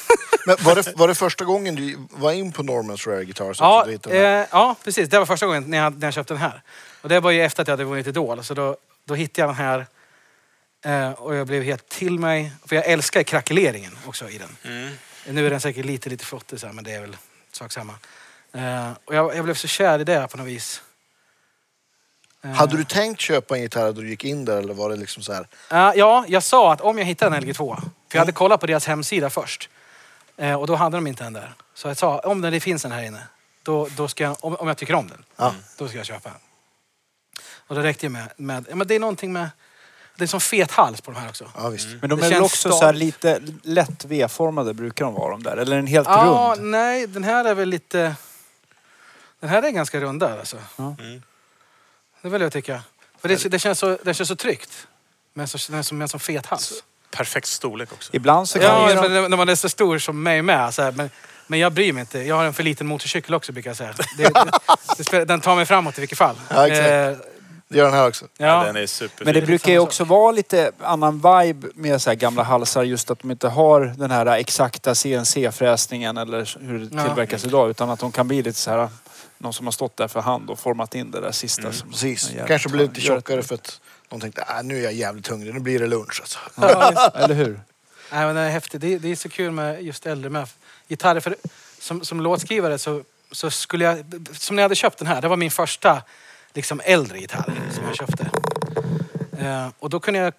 S2: Men var det, var det första gången du var in på Normans Rare Guitar? Så
S4: Ja,
S2: att du hittade den?
S4: eh, ja, precis. Det var första gången när jag, när jag köpte den här. Och det var ju efter att jag hade vunnit Idol. Så då, då hittade jag den här. Eh, och jag blev helt till mig. För jag älskar krackeleringen också i den.
S3: Mm. nu
S4: Nu är den säkert lite, lite flottig så här, men det är väl sak samma. Eh, och jag, jag blev så kär i det på något vis. Eh,
S2: Hade du tänkt köpa en gitarr då du gick in där eller var det liksom så här?
S4: Eh, ja, jag sa att om jag hittar en LG2, för jag hade kollat på deras hemsida först. Eh, och då hade de inte en där. Så jag sa, om den, det finns en här inne, då, då ska jag, om, om jag tycker om den,
S2: Ja.
S4: då ska jag köpa en. Och det räckte ju med, med ja, men det är någonting med, det är en sån fet hals på de här också.
S2: Ja, visst.
S5: Men de
S4: Det
S5: är väl
S4: känns
S5: också så här
S4: stadigt.
S5: lite lätt V-formade brukar de vara de där. Eller en helt
S4: Ja,
S5: rund.
S4: nej, den här är väl lite... Den här är ganska rundad alltså.
S5: Ja.
S3: Mm.
S4: Det vill jag tycka. För det, det, känns, så, det känns så tryggt. Men så, den är som en sån fet hals.
S3: Perfekt storlek också.
S5: Ibland så kan
S4: Ja,
S5: ju de...
S4: men när- när man är så stor som mig med. Så här, men, men jag bryr mig inte. Jag har en för liten motorcykel också brukar jag säga. Det, det, det, spelar- den tar mig framåt i vilket fall.
S2: Ja, exakt.
S4: Eh,
S2: Det gör den här också.
S3: Ja.
S4: ja.
S3: den är superfin.
S5: Men det brukar ju
S4: samma
S5: också vara lite annan vibe med så här gamla halsar. Just att de inte har den här exakta CNC-fräsningen eller hur det
S4: Ja.
S5: tillverkas idag. Utan att de kan bli lite så här... Någon som har stått där för hand och format in det där sista.
S3: Mm,
S5: som
S2: Precis.
S5: Ja,
S2: Kanske blev lite
S5: gör ett-
S2: tjockare för att de tänkte ah, nu är jag jävligt hungrig, nu blir det lunch alltså.
S4: Ja, just-
S5: Eller hur?
S4: Nej, men det är häftigt. Det är, det är så kul med just äldre med gitarrer. För som, som låtskrivare så, så skulle jag... Som när jag hade köpt den här. Det var min första liksom, äldre gitarr som jag köpte. Eh, och då kunde jag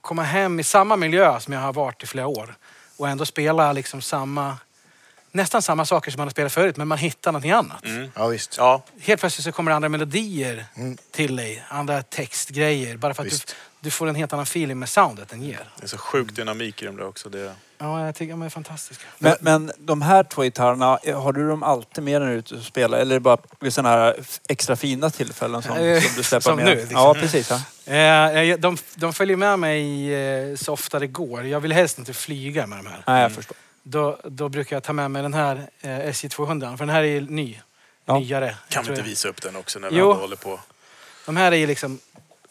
S4: komma hem i samma miljö som jag har varit i flera år. Och ändå spela liksom samma... Nästan samma saker som man har spelat förut, men man hittar någonting annat.
S3: Mm.
S2: Ja, visst.
S3: Ja,
S4: Helt plötsligt så kommer det andra melodier
S2: Mm.
S4: till dig. Andra textgrejer. Bara för att du,
S2: Visst.
S4: du får en helt annan feeling med soundet den ger.
S3: det är så sjuk dynamik i dem där också. Det...
S4: Ja, jag tycker de är fantastiska.
S5: Men, men de här två gitarrerna, eh, har du dem alltid med dig när du är ute och spelar? Eller är det bara vid sådana här f- extra fina tillfällen som,
S4: Eh,
S5: som du släpper
S4: som
S5: med?
S4: nu, liksom.
S5: Ja, precis. Ja.
S4: Eh, eh, de, de följer med mig eh, så ofta det går. Jag vill helst inte flyga med de här.
S5: Nej, jag förstår.
S4: Då, då brukar jag ta med mig den här eh, SJ200. För den här är ju ny.
S5: Ja.
S4: Nyare.
S3: Kan vi
S4: tror
S3: inte
S4: jag.
S3: visa upp den också när vi
S4: Jo.
S3: ändå håller på?
S4: De här är ju liksom...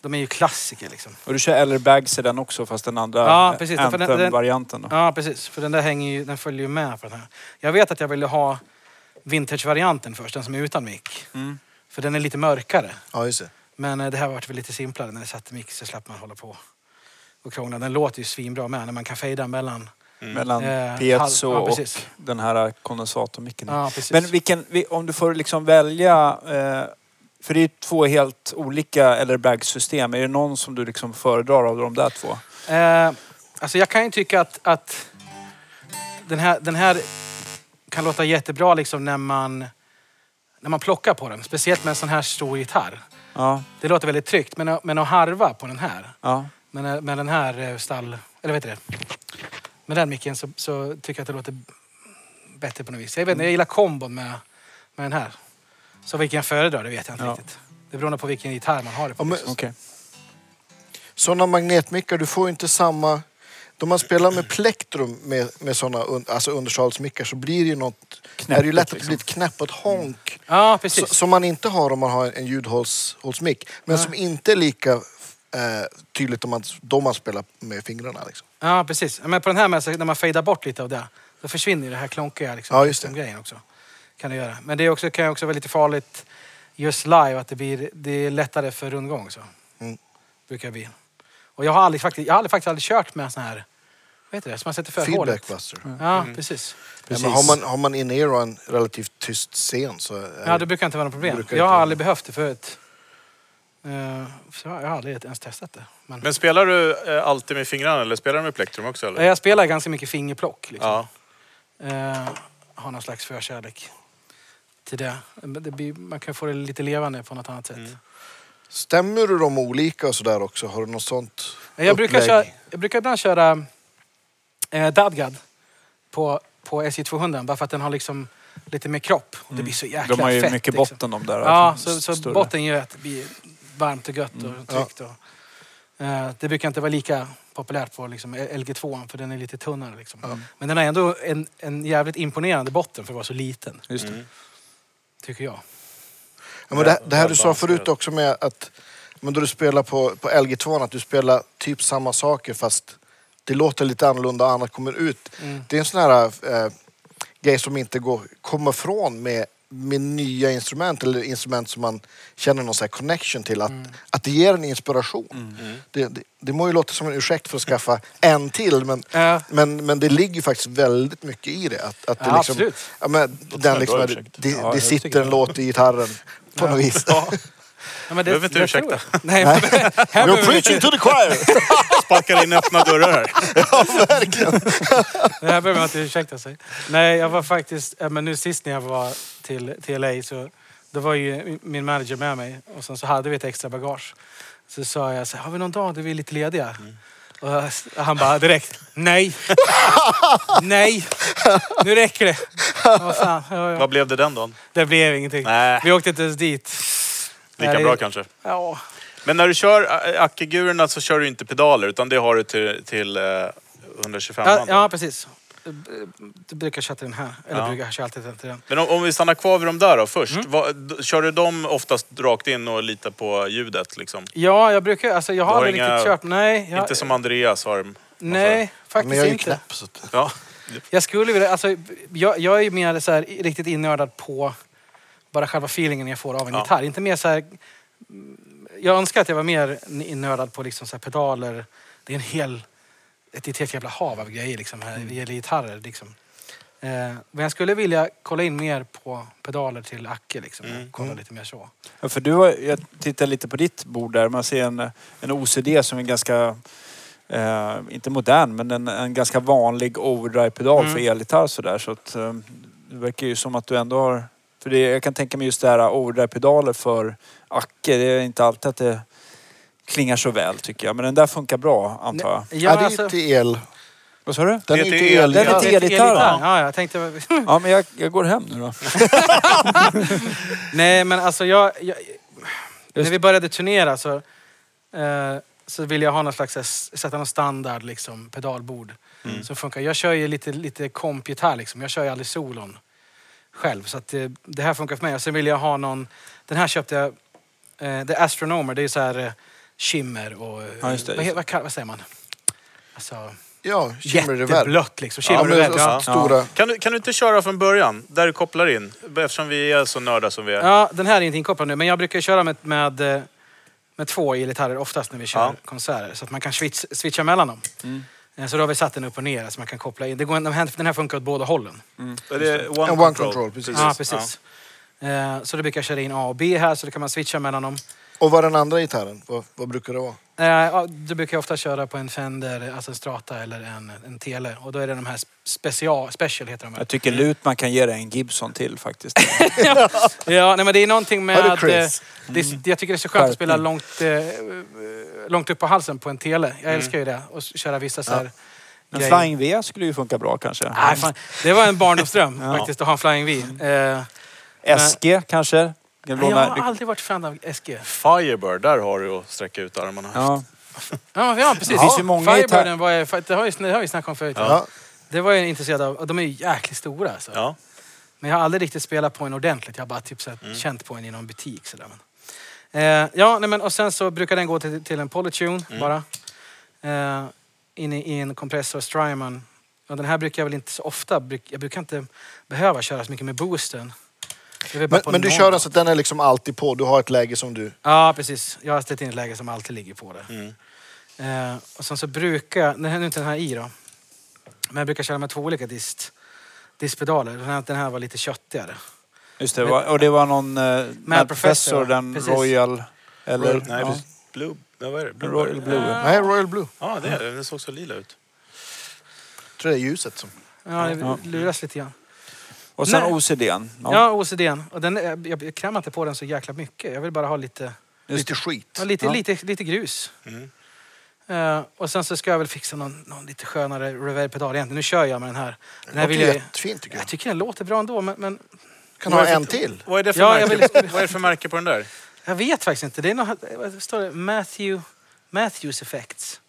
S4: De är ju klassiker liksom.
S5: Och du kör eller bags i den också fast den andra
S4: Ja,
S5: ja,
S4: precis. För den- den-
S5: Anthem-varianten då?
S4: Ja, precis. För den där hänger ju, den följer ju med på den här. Jag vet att jag ville ha vintage-varianten först. Den som är utan mick.
S5: Mm.
S4: För den är lite mörkare.
S2: Ja, just det.
S4: Men eh, det här vart väl lite simplare när det satte mick så slapp man hålla på och krångla. Den låter ju svinbra med när man kan fejda mellan.
S3: Mm.
S5: Mellan
S4: Eh,
S5: piezo
S4: halv- ja,
S5: och
S4: precis.
S5: den här kondensatormicken.
S4: Ja, precis.
S5: Men vilken, vi- om du får liksom välja... Eh, för det är ju två helt olika eller bags-system. Är det någon som du liksom föredrar av de där två?
S4: Eh, alltså jag kan ju tycka att, att den, här, den här kan låta jättebra liksom när man, när man plockar på den. Speciellt med en sån här stor gitarr.
S5: Ja,
S4: Det låter väldigt tryggt. Men, att- men att harva på den här,
S5: ja.
S4: men eh, med den här eh, stall... Eller vet du det? Med den micken så, så tycker jag att det låter bättre på något vis. Jag, vet, inte, jag gillar kombon med, med den här. Så vilken jag föredrar, det vet jag inte
S5: Ja.
S4: riktigt. Det beror nog på vilken gitarr man har det på.
S2: Ja, men,
S5: Okej.
S2: sådana magnetmickar, du får ju inte samma... Då man spelar med plektrum med, med sådana un, alltså undersalsmickar så blir det ju något...
S5: Knäppigt,
S2: är det ju lätt att det
S5: liksom.
S2: blir ett knäpp och ett honk.
S4: Ja,
S2: så,
S4: precis.
S2: som man inte har om man har en, en ljudhålsmick. Men som inte är lika eh, tydligt om man, då man spelar med fingrarna. Liksom.
S4: Ja, precis. Men på den här med, så när man fejdar bort lite av det, då försvinner ju det här klonkiga liksom,
S2: Ja, just det.
S4: grejen också. Kan det göra. Men det är också, kan ju också vara lite farligt just live, att det blir det är lättare för rundgång. Så.
S2: Mm.
S4: Brukar det bli. Och jag har aldrig faktiskt, jag har aldrig, faktiskt aldrig kört med sån här, vad heter det, som man sätter för
S2: Feedback Mm.
S4: hålet. Mm.
S2: buster.
S4: Ja, precis.
S2: Ja,
S5: Precis.
S2: men har, man, har man in ear och en relativt tyst scen så... Är
S4: Ja, det brukar inte vara något problem.
S2: brukar
S4: Jag har
S2: inte-
S4: aldrig behövt det förut. Eh, så jag har aldrig ens testat det. Men,
S3: Men spelar du eh, alltid med fingrarna eller spelar du med plektrum också? Eller?
S4: jag spelar ganska mycket fingerplock. Liksom.
S3: Ja.
S4: eh, har någon slags förkärlek till det. Men det blir, man kan få det lite levande på något annat sätt.
S3: Mm.
S2: Stämmer du dem olika och sådär också? Har du något sånt
S4: Jag, brukar
S2: upplägg?
S4: köra, jag brukar ibland köra eh, Dadgad på, på SJ200 bara för att den har liksom lite mer kropp. Och det blir så jäkla
S5: Mm. De har ju
S4: fett,
S5: mycket
S4: liksom.
S5: botten de där.
S4: Ja,
S5: alltså,
S4: så, så
S5: större. Mm.
S4: botten gör att det blir varmt och gött och tryggt. Och, Eh, Det brukar inte vara lika populärt på liksom LG2, för den är lite tunnare. Liksom. Men den har ändå en, en jävligt imponerande botten för att vara så liten,
S5: Just det.
S3: Mm.
S4: tycker jag.
S2: Ja, men det, det här du sa
S3: Välbalanserat.
S2: förut också med att men då du spelar på, på LG2, att du spelar typ samma saker fast det låter lite annorlunda och annat kommer ut.
S4: Mm.
S2: Det är en sån här eh, grej som inte går kommer från med, med nya instrument eller instrument som man känner någon sån här connection till. Att, att det ger en inspiration. Det, det, det må ju låta som en ursäkt för att skaffa en till men,
S4: Ja.
S2: men, men det ligger ju faktiskt väldigt mycket i det. Att, att det
S4: Ja,
S2: liksom,
S4: absolut.
S2: Ja, men,
S3: som
S2: den
S3: en
S2: liksom,
S3: bra
S2: det,
S3: ursäkt.
S2: det,
S5: Ja,
S2: det
S5: jag tycker
S2: sitter en
S5: det.
S2: låt i gitarren på något vis.
S4: Ja, men det,
S3: Behöver inte
S4: det
S3: ursäkta.
S4: tror jag. Nej, men, här behöver vi inte,
S2: to the choir!
S3: Sparkar in öppna dörrar här.
S4: det här behöver man inte ursäkta sig. Nej, jag var faktiskt... ja, Men nu sist när jag var till, till LA så då var ju min manager med mig och sen så hade vi ett extra bagage. Så sa jag så här, har vi någon dag där vi är lite lediga?
S3: Mm.
S4: Och jag- han bara direkt, nej! nej! Nu räcker det! Vad fan, ja, ja.
S3: Vad blev det den dagen?
S4: Det blev ingenting.
S3: Nej.
S4: Vi åkte inte ens dit.
S3: Lika
S4: Nej.
S3: bra kanske.
S4: Ja.
S3: Men när du kör a- ackegurorna så kör du inte pedaler utan det har du till, till eh, 125
S4: Ja,
S3: man då.
S4: ja, precis. Du brukar chatta den här. Eller
S3: Ja.
S4: brukar jag chatta den till den.
S3: Men om, om vi stannar kvar vid de där då först.
S4: Mm.
S3: Vad- d- kör du dem oftast rakt in och litar på ljudet liksom?
S4: Ja, jag brukar... Alltså jag har,
S3: har
S4: aldrig
S3: inga-
S4: riktigt kört. Nej, jag,
S3: Inte som Andreas har. dem.
S4: nej faktiskt
S2: Men jag är ju
S4: inte.
S2: knäpp. Så att,
S3: Ja.
S4: Jag skulle vilja... Alltså, jag, jag är ju mer så här, riktigt innördad på bara själva feelingen jag får av en
S3: Ja.
S4: gitarr. Inte mer så här... mm, Jag önskar att jag var mer innördad på liksom så här pedaler. Det är en hel... Ett, ett helt jävla hav av grejer liksom här.
S3: Mm.
S4: Det gäller gitarrer liksom. Eh, men jag skulle vilja kolla in mer på pedaler till Acke liksom.
S3: Mm.
S4: Kolla lite mer så.
S5: Ja, för du har, jag tittar lite på ditt bord där. Man ser en, en OCD som är ganska, eh, inte modern, men en, en ganska vanlig overdrive-pedal
S4: Mm.
S5: för elgitarr sådär. Så att, eh, det verkar ju som att du ändå har... För det, jag kan tänka mig just det här overdrive-pedaler för Acke. Det är inte alltid att det klingar så väl tycker jag. Men den där funkar bra antar jag.
S4: Ja,
S2: ja, det är
S4: alltså-
S2: ju till el.
S5: Vad sa du?
S2: Den
S3: Det
S2: är
S3: är
S2: ju
S3: till
S2: till
S3: el.
S2: el.
S5: Den är till elgitarr.
S4: elgitarr.
S5: Ja.
S4: Ja, jag tänkte...
S5: ja, men jag, jag går hem nu då.
S4: Nej, men alltså jag... jag när
S5: Just-
S4: vi började turnera så, eh, så ville jag ha någon slags, så här, sätta någon standard liksom, pedalbord
S5: Mm.
S4: som funkar. Jag kör ju lite, lite kompgitarr liksom. Jag kör ju aldrig solon själv. Så att det, det här funkar för mig. Och sen ville jag ha någon... Den här köpte jag... Eh, The Astronomer, det är ju så här eh, shimmer och... eh,
S5: Ja, just det,
S4: vad,
S5: just
S4: he- vad, kall- vad säger man? Alltså,
S2: Ja, Shimmer Reverb.
S4: jätteblött liksom. Shimmer
S2: Ja, men
S4: reverb,
S2: så-
S4: ja.
S2: stora.
S3: Kan, du, kan du inte köra från början, där du kopplar in? Eftersom vi är så nörda som vi är.
S4: Ja, den här är inte inkopplad nu, men jag brukar köra med, med, eh, med två elgitarrer oftast när vi kör
S3: Ja.
S4: konserter. Så att man kan switch, switcha mellan dem.
S2: Mm.
S4: Eh, Så då har vi satt den upp och ner så man kan koppla in. Det går, den här- den här funkar åt båda hållen.
S3: Är det one,
S2: Ja, one control, precis.
S4: Ja, precis. Eh, Så då brukar jag köra in A och B här, så då kan man switcha mellan dem.
S2: Och vad är den andra gitarren? Vad, vad brukar det vara?
S4: Eh, ja, Då brukar jag ofta köra på en Fender, alltså en Strata eller en, en Tele. Och då är det de här special, special heter de. här.
S5: Jag tycker Lutman kan ge dig en Gibson till faktiskt.
S4: Ja, nej, men det är någonting med...
S2: Hörru,
S4: att, eh,
S2: Chris.
S4: det, är- jag tycker det är så skönt att spela
S5: Mm. Skärpning.
S4: långt, eh, långt upp på halsen på en tele. Jag älskar ju det. Och s- köra vissa så här...
S5: En
S4: grejer.
S5: Mm. Flying V skulle ju funka bra kanske.
S4: Nej, fan. Det var en barndomsdröm faktiskt, att ha en Flying V. Eh,
S5: SG kanske? Kan
S4: jag
S5: låna-
S4: har aldrig varit fan av SG.
S3: Firebird, där har du att sträcka ut armarna.
S5: Ja.
S4: Ja, ja precis.
S5: Det finns ju många gitarr-
S4: Firebirden var jag, fa- det har, ju, det har vi snackat om förut.
S2: Ja.
S4: Det var jag intresserad av. Och de är ju jäkligt stora alltså.
S3: Ja.
S4: Men jag har aldrig riktigt spelat på en ordentligt. Jag har bara typ så här,
S2: Mm.
S4: känt på en i någon butik. Så där. Men, eh, ja, nej, men, och sen så brukar den gå till, till en Polytune
S2: Mm.
S4: bara. Eh, in i, i en kompressor, Strymon. Och den här brukar jag väl inte så ofta... Bruk, jag brukar inte behöva köra så mycket med boosten. Det är väl bara
S2: Men,
S4: på
S2: men du
S4: någon-
S2: kör den så att den är liksom alltid på. Du har ett läge som du...
S4: Ja, precis. Jag har ställt in ett läge som alltid ligger på det.
S3: Mm.
S4: Eh, och sen så brukar jag, nu är inte den här i då, men jag brukar köra med två olika dist, distpedaler. Den här, den här var lite köttigare.
S5: Just det, var- och det var någon eh, Mad
S4: Professor,
S5: Professor, den
S4: precis.
S5: Royal... Eller,
S3: Royal, nej,
S5: ja,
S3: precis. Blue, nej, vad är det? Blue
S5: Royal Blue. ja.
S2: Nej, Royal Blue.
S3: Ja, det är det. Den såg så lila ut.
S2: Jag tror det är ljuset som...
S4: Ja, det
S5: Ja.
S4: luras lite grann.
S5: Och sen
S4: Nej.
S5: OCDn. Ja,
S4: Ja, OCDn. Och den, är- jag, jag krämar inte på den så jäkla mycket. Jag vill bara ha lite,
S5: just
S2: Lite
S5: det.
S2: skit.
S4: ja, lite,
S5: Ja.
S4: lite, lite grus.
S3: Mm.
S4: Eh, och sen så ska jag väl fixa någon, någon lite skönare reverbpedal egentligen. Nu kör jag med den här. Den här
S2: Det
S4: vill jag,
S2: låter
S4: ju-
S2: jättefint tycker jag.
S4: jag tycker den låter bra ändå, men, men
S2: Du kan ha en till.
S3: Vad är det för,
S4: Ja, jag
S3: märke,
S4: vill-
S3: vad är det för märke på den där?
S4: jag vet faktiskt inte. Det är något, vad står det? Matthew Matthews Effects.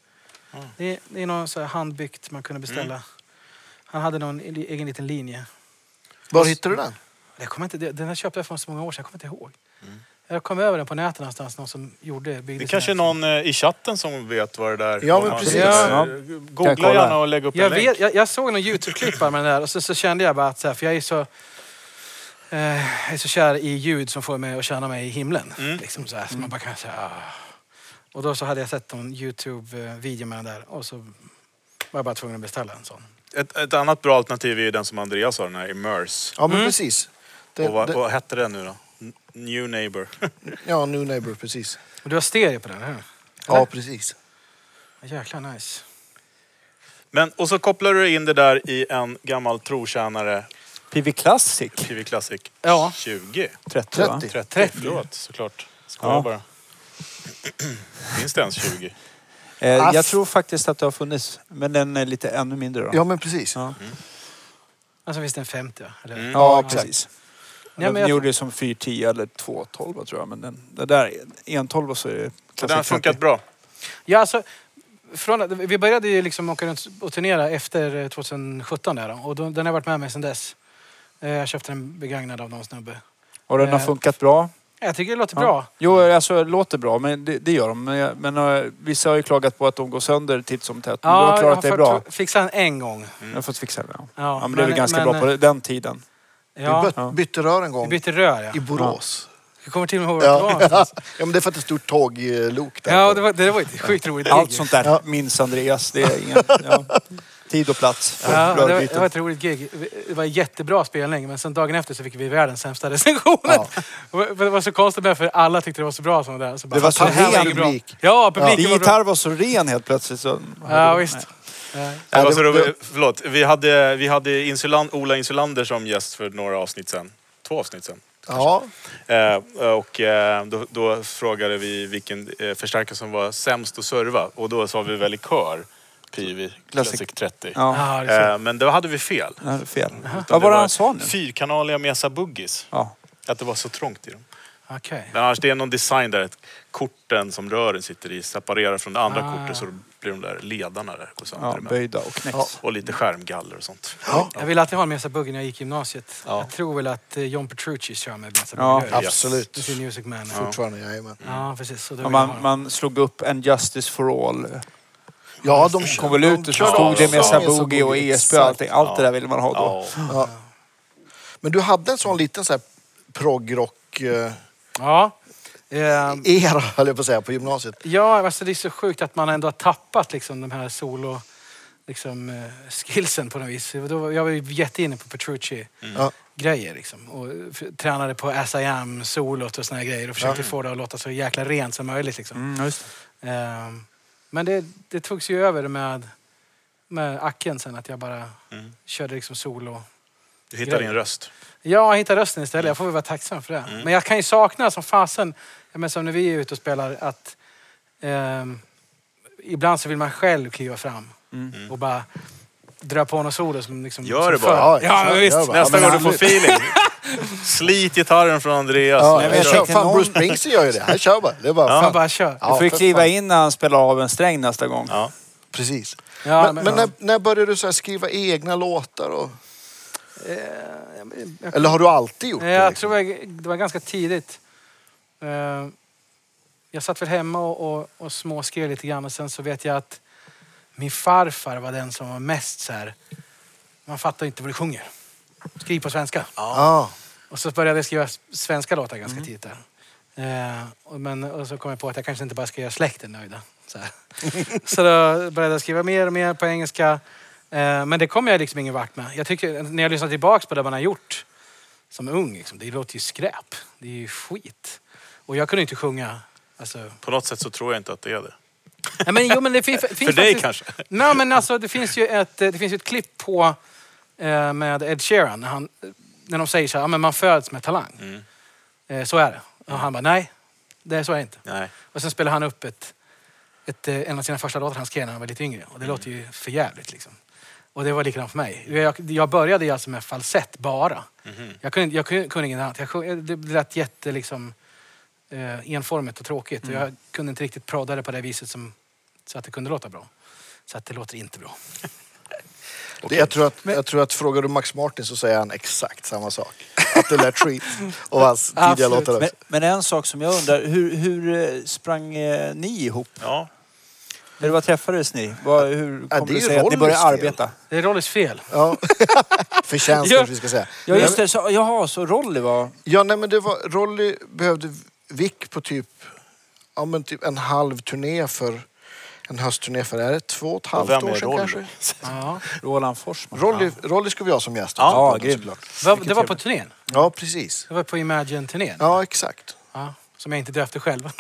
S3: Mm.
S4: Det, det är något så här handbyggt man kunde beställa.
S5: Mm.
S4: Han hade någon i- egen liten linje.
S2: Var hittade du den?
S4: Jag kommer inte, det- den här köpte jag för så många år sedan, jag kommer inte ihåg. Jag kom över den på nätet någonstans, någon som gjorde, byggde
S3: Mm. Det
S4: sin
S3: kanske är
S4: egen.
S3: någon eh, i chatten som vet vad det där
S2: Ja,
S3: vad
S2: men
S3: man-
S2: precis.
S5: Ja. Kan
S3: Googla
S5: jag kolla?
S3: gärna och lägg upp
S4: Jag,
S3: en länk.
S4: vet, jag, jag såg någon Youtube-klipp bara med den där och så, så kände jag bara att så här, för jag är så... Eh, jag är så kär i ljud som får mig att känna mig i himlen.
S3: Mm.
S4: Liksom så här, så man bara kan säga ah. Och då så hade jag sett någon Youtube-video med den där och så var jag bara tvungen att beställa en sån.
S3: Ett, ett annat bra alternativ är ju den som Andreas har, den här Immerse.
S2: Ja, men
S4: Mm.
S2: precis. Det,
S3: och vad,
S2: det,
S3: vad hette den nu då? N- New Neighbor.
S2: ja, New Neighbor, precis.
S4: Och du har stereo på den, eller hur?
S2: Ja, precis.
S4: Jäkla nice.
S3: Men, och så kopplar du in det där i en gammal trotjänare,
S5: PV Classic
S3: TV Classic
S4: Ja.
S3: 20.
S5: 30 va?
S2: 30.
S3: 30.
S4: 30.
S3: Förlåt, såklart. Skoja
S5: Ja.
S3: bara. Finns det ens 20?
S5: Eh,
S2: Ass.
S5: jag tror faktiskt att det har funnits. Men den är lite ännu mindre då.
S2: Ja, men precis.
S5: Ja.
S4: Alltså finns det en 50 eller?
S5: Ja,
S3: Mm.
S4: Ja.
S5: precis.
S4: Nej, men
S5: de
S4: jag-
S5: gjorde det som 410 eller 212 tror jag. Men den, det där, 112 så är det
S3: Så den har
S5: Classic
S3: funkat bra.
S4: Ja, alltså, från, att- vi började ju liksom åka runt och turnera efter eh, 2017 där, då, och då- den har varit med mig sedan dess. Eh, Jag köpte den begagnad av någon snubbe.
S5: 30. Och den har
S4: Eh,
S5: funkat bra.
S4: Jag tycker det låter
S5: Ja.
S4: bra.
S5: Jo, alltså det låter bra, men det, det gör de. Men, jag- men eh, vissa har ju klagat på att de går sönder titt som tätt. Men du har klarat det
S4: jag
S5: bra.
S4: fått fixa den en gång.
S5: Jag har fått fixa det. Ja.
S4: Ja,
S5: Ja, men det är väl ganska
S4: men,
S5: bra
S4: eh,
S5: på den tiden.
S4: Ja,
S2: Vi
S4: vi,
S2: byt,
S5: Ja.
S2: bytte rör en gång
S4: bytte rör, ja.
S2: i Borås.
S4: Jag kommer till och med ihåg vart det var
S2: Ja.
S4: någonstans.
S2: ja, men det är för att det är ett stort tåglok där.
S4: Ja, det var, det var ett sjukt roligt gig.
S5: Allt sånt där
S2: Ja.
S5: minns Andreas. Det är ingen, ja. Tid och plats för
S4: Ja, det, var,
S5: rörbyten.
S4: det var ett roligt gig. Det var en jättebra spelning, men sen dagen efter så fick vi världens sämsta recensioner.
S2: Ja.
S4: Och Det var så konstigt med för alla tyckte det var så bra. Som det, där. så bara,
S5: Det var så
S4: "Fan, här
S5: ren
S4: inget bra."
S2: publik.
S4: Ja,
S5: Ja.
S4: publiken
S5: Din
S4: var bra.
S5: gitarr var så ren helt plötsligt. Så...
S4: Ja, visst. Ja.
S3: Det var så
S2: det-
S3: roligt. Förlåt. Vi hade, vi hade Insulan, Ola Insulander som gäst för några avsnitt sen. Två avsnitt sen.
S2: Ja,
S3: Eh, och eh, då, då frågade vi vilken eh, förstärkare som var sämst att serva. Och då sa vi väl i kör PV Classic 30.
S5: Ja.
S4: Ja, det är så.
S3: Eh, men då hade vi fel.
S5: det här är fel.
S3: Utan
S5: Vad var det
S3: var
S5: han sa nu?
S3: Fyrkanaliga Mesa Boogies.
S5: Ja.
S3: Att det var så trångt i dem.
S4: Okej.
S3: Men annars, det är någon design där att korten som rören sitter i separerar från det andra
S4: Ah.
S3: kortet så då blir de där ledarna där går sönder
S5: ja,
S3: emellan.
S5: böjda och knäcks.
S3: Och lite skärmgaller och sånt.
S4: Jag ville alltid ha en Mesa Boogie när jag gick i gymnasiet. Jag tror väl att eh, John Petrucci kör med Mesa Boogie.
S5: Ja,
S3: Yes.
S4: nu.
S2: absolut.
S4: Med sin Music Man. Ja,
S2: Fortfarande, jajamän.
S4: precis. Så då
S5: Ja,
S4: vill jag ha
S5: man,
S4: den.
S5: man slog upp en Justice for All.
S2: Ja, de
S5: Kom väl ut och så
S2: körde
S5: stod det
S2: också
S5: med
S2: Mesa
S5: Sabugi och
S2: Boogie,
S5: ESP och allting. Allt det
S3: Ja.
S5: där ville man ha då.
S3: Ja.
S2: Ja. Men du hade en sån liten så här proggrock eh,
S4: ja. Eh,
S2: era höll jag på att säga, på gymnasiet.
S4: ja, alltså det är så sjukt att man ändå har tappat liksom, de här solo liksom, eh, skillsen på något vis. Då, var- jag var ju jätteinne på Petrucci.
S2: Ja.
S4: grejer liksom. Och f- tränade på As I am, solot och såna här grejer och försökte få det att låta så jäkla rent som möjligt liksom.
S5: Mm, just. det.
S4: Ehm, men det, det togs ju över med, med Acken sen att jag bara körde liksom solo.
S3: Mm. Du hittar din röst.
S4: Ja, jag hittade rösten istället. Jag får väl vara tacksam för det.
S2: Mm.
S4: Men jag kan ju sakna som fasen, ja, men som när vi är ute och spelar, att ehm, ibland så vill man själv kliva fram
S2: Mm.
S4: och bara dra på någon solo som liksom...
S3: Gör
S4: som
S3: det bara.
S4: förr. Ja,
S2: kör-
S4: men visst.
S2: gör bara.
S3: Nästa
S2: Ja, men
S3: gång du får
S2: absolut.
S3: feeling. Slit gitarren från Andreas.
S2: Ja,
S5: Nej,
S2: men
S5: men jag
S2: kör,
S5: tänkte
S2: fan,
S5: någon-
S2: Bruce Springsteen gör ju det. Han kör bara. Det är bara
S4: Man
S2: fan.
S4: bara kör.
S2: Ja,
S5: Du får ju
S2: för
S5: kliva
S2: fan.
S5: in när han spelar av en sträng nästa gång.
S3: Ja.
S2: Precis.
S4: Ja,
S2: men men när, när började du så här skriva egna låtar? Och,
S4: Eh,
S2: eller har du alltid gjort
S4: Nej,
S2: det?
S4: Jag
S2: liksom?
S4: tror jag, det var ganska tidigt. Eh, Jag satt väl hemma och, och, och småskrev lite grann och sen så vet jag att min farfar var den som var mest så här. Man fattar inte vad du sjunger. Skriv på svenska.
S2: Ja.
S4: Och så började jag skriva s- svenska låtar ganska
S3: Mm.
S4: tidigt där. Eh, och, men, och så kom jag på att jag kanske inte bara ska göra släkten nöjda. Så, här. så då började jag skriva mer och mer på engelska. Eh, men det kom jag liksom ingen vart med. Jag tycker, när jag lyssnar tillbaks på det man har gjort som ung, liksom, det låter ju skräp. Det är ju skit. Och jag kunde inte sjunga. Alltså,
S3: På något sätt så tror jag inte att det är det.
S4: nej, men, jo, men det finns, finns
S3: För dig
S4: faktiskt-
S3: kanske?
S4: Nej, men alltså, det finns ju ett, eh, det finns ju ett klipp på eh, med Ed Sheeran när, han, när de säger så här, "Ja, men man föds med talang.
S3: Mm.
S4: Eh, så är det. Och han bara, nej, det är så är det inte.
S3: Nej.
S4: Och sen spelar han upp ett, ett, eh, en av sina första låtar han skrev när han var lite yngre. Och det låter ju för jävligt liksom. Och det var likadant för mig. Jag, jag började ju alltså med
S3: Mhm.
S4: falsett bara. Jag, kunde, jag kunde, kunde inget annat. Jag sjö- det lät jätte liksom... eh, enformigt och tråkigt. Och jag kunde inte riktigt prodda det på det viset som, så att det kunde låta bra. Så att det låter inte bra.
S2: Det, jag, tror att, jag tror att frågar du Max Martin så säger han exakt samma sak. Att det lät skit. Och hans tidiga
S4: Absolut.
S2: låtar också.
S5: Men, men en sak som jag undrar, hur, hur eh, sprang eh, ni ihop?
S3: Ja.
S5: Eller vad träffades ni? Vad, hur
S2: Ja,
S5: kom
S2: det är
S5: det
S2: ju
S5: sig att ni
S2: Rollys
S5: började
S2: fel.
S5: arbeta?
S4: Det är Rollys fel.
S2: Ja. Förtjänst
S5: Ja.
S2: kanske vi ska säga.
S5: Ja just det, så, jaha så Rolly var...
S2: Ja, nej men det var, Rolly behövde vick på typ, ja, men typ en halv turné för, en höstturné för, är det två och ett halvt
S3: vem är
S2: år sedan
S3: Rolly?
S2: kanske?
S4: Ja.
S5: Roland Forsman.
S2: Rolly, Rolly ska vi ha som gäst.
S5: Ja,
S2: också på podden,
S5: grym.
S2: såklart.
S4: Va- Det var på turnén.
S2: Ja, precis.
S4: Det var på Imagine-turnén.
S2: Ja, exakt.
S4: Ja, som jag inte döpte själv.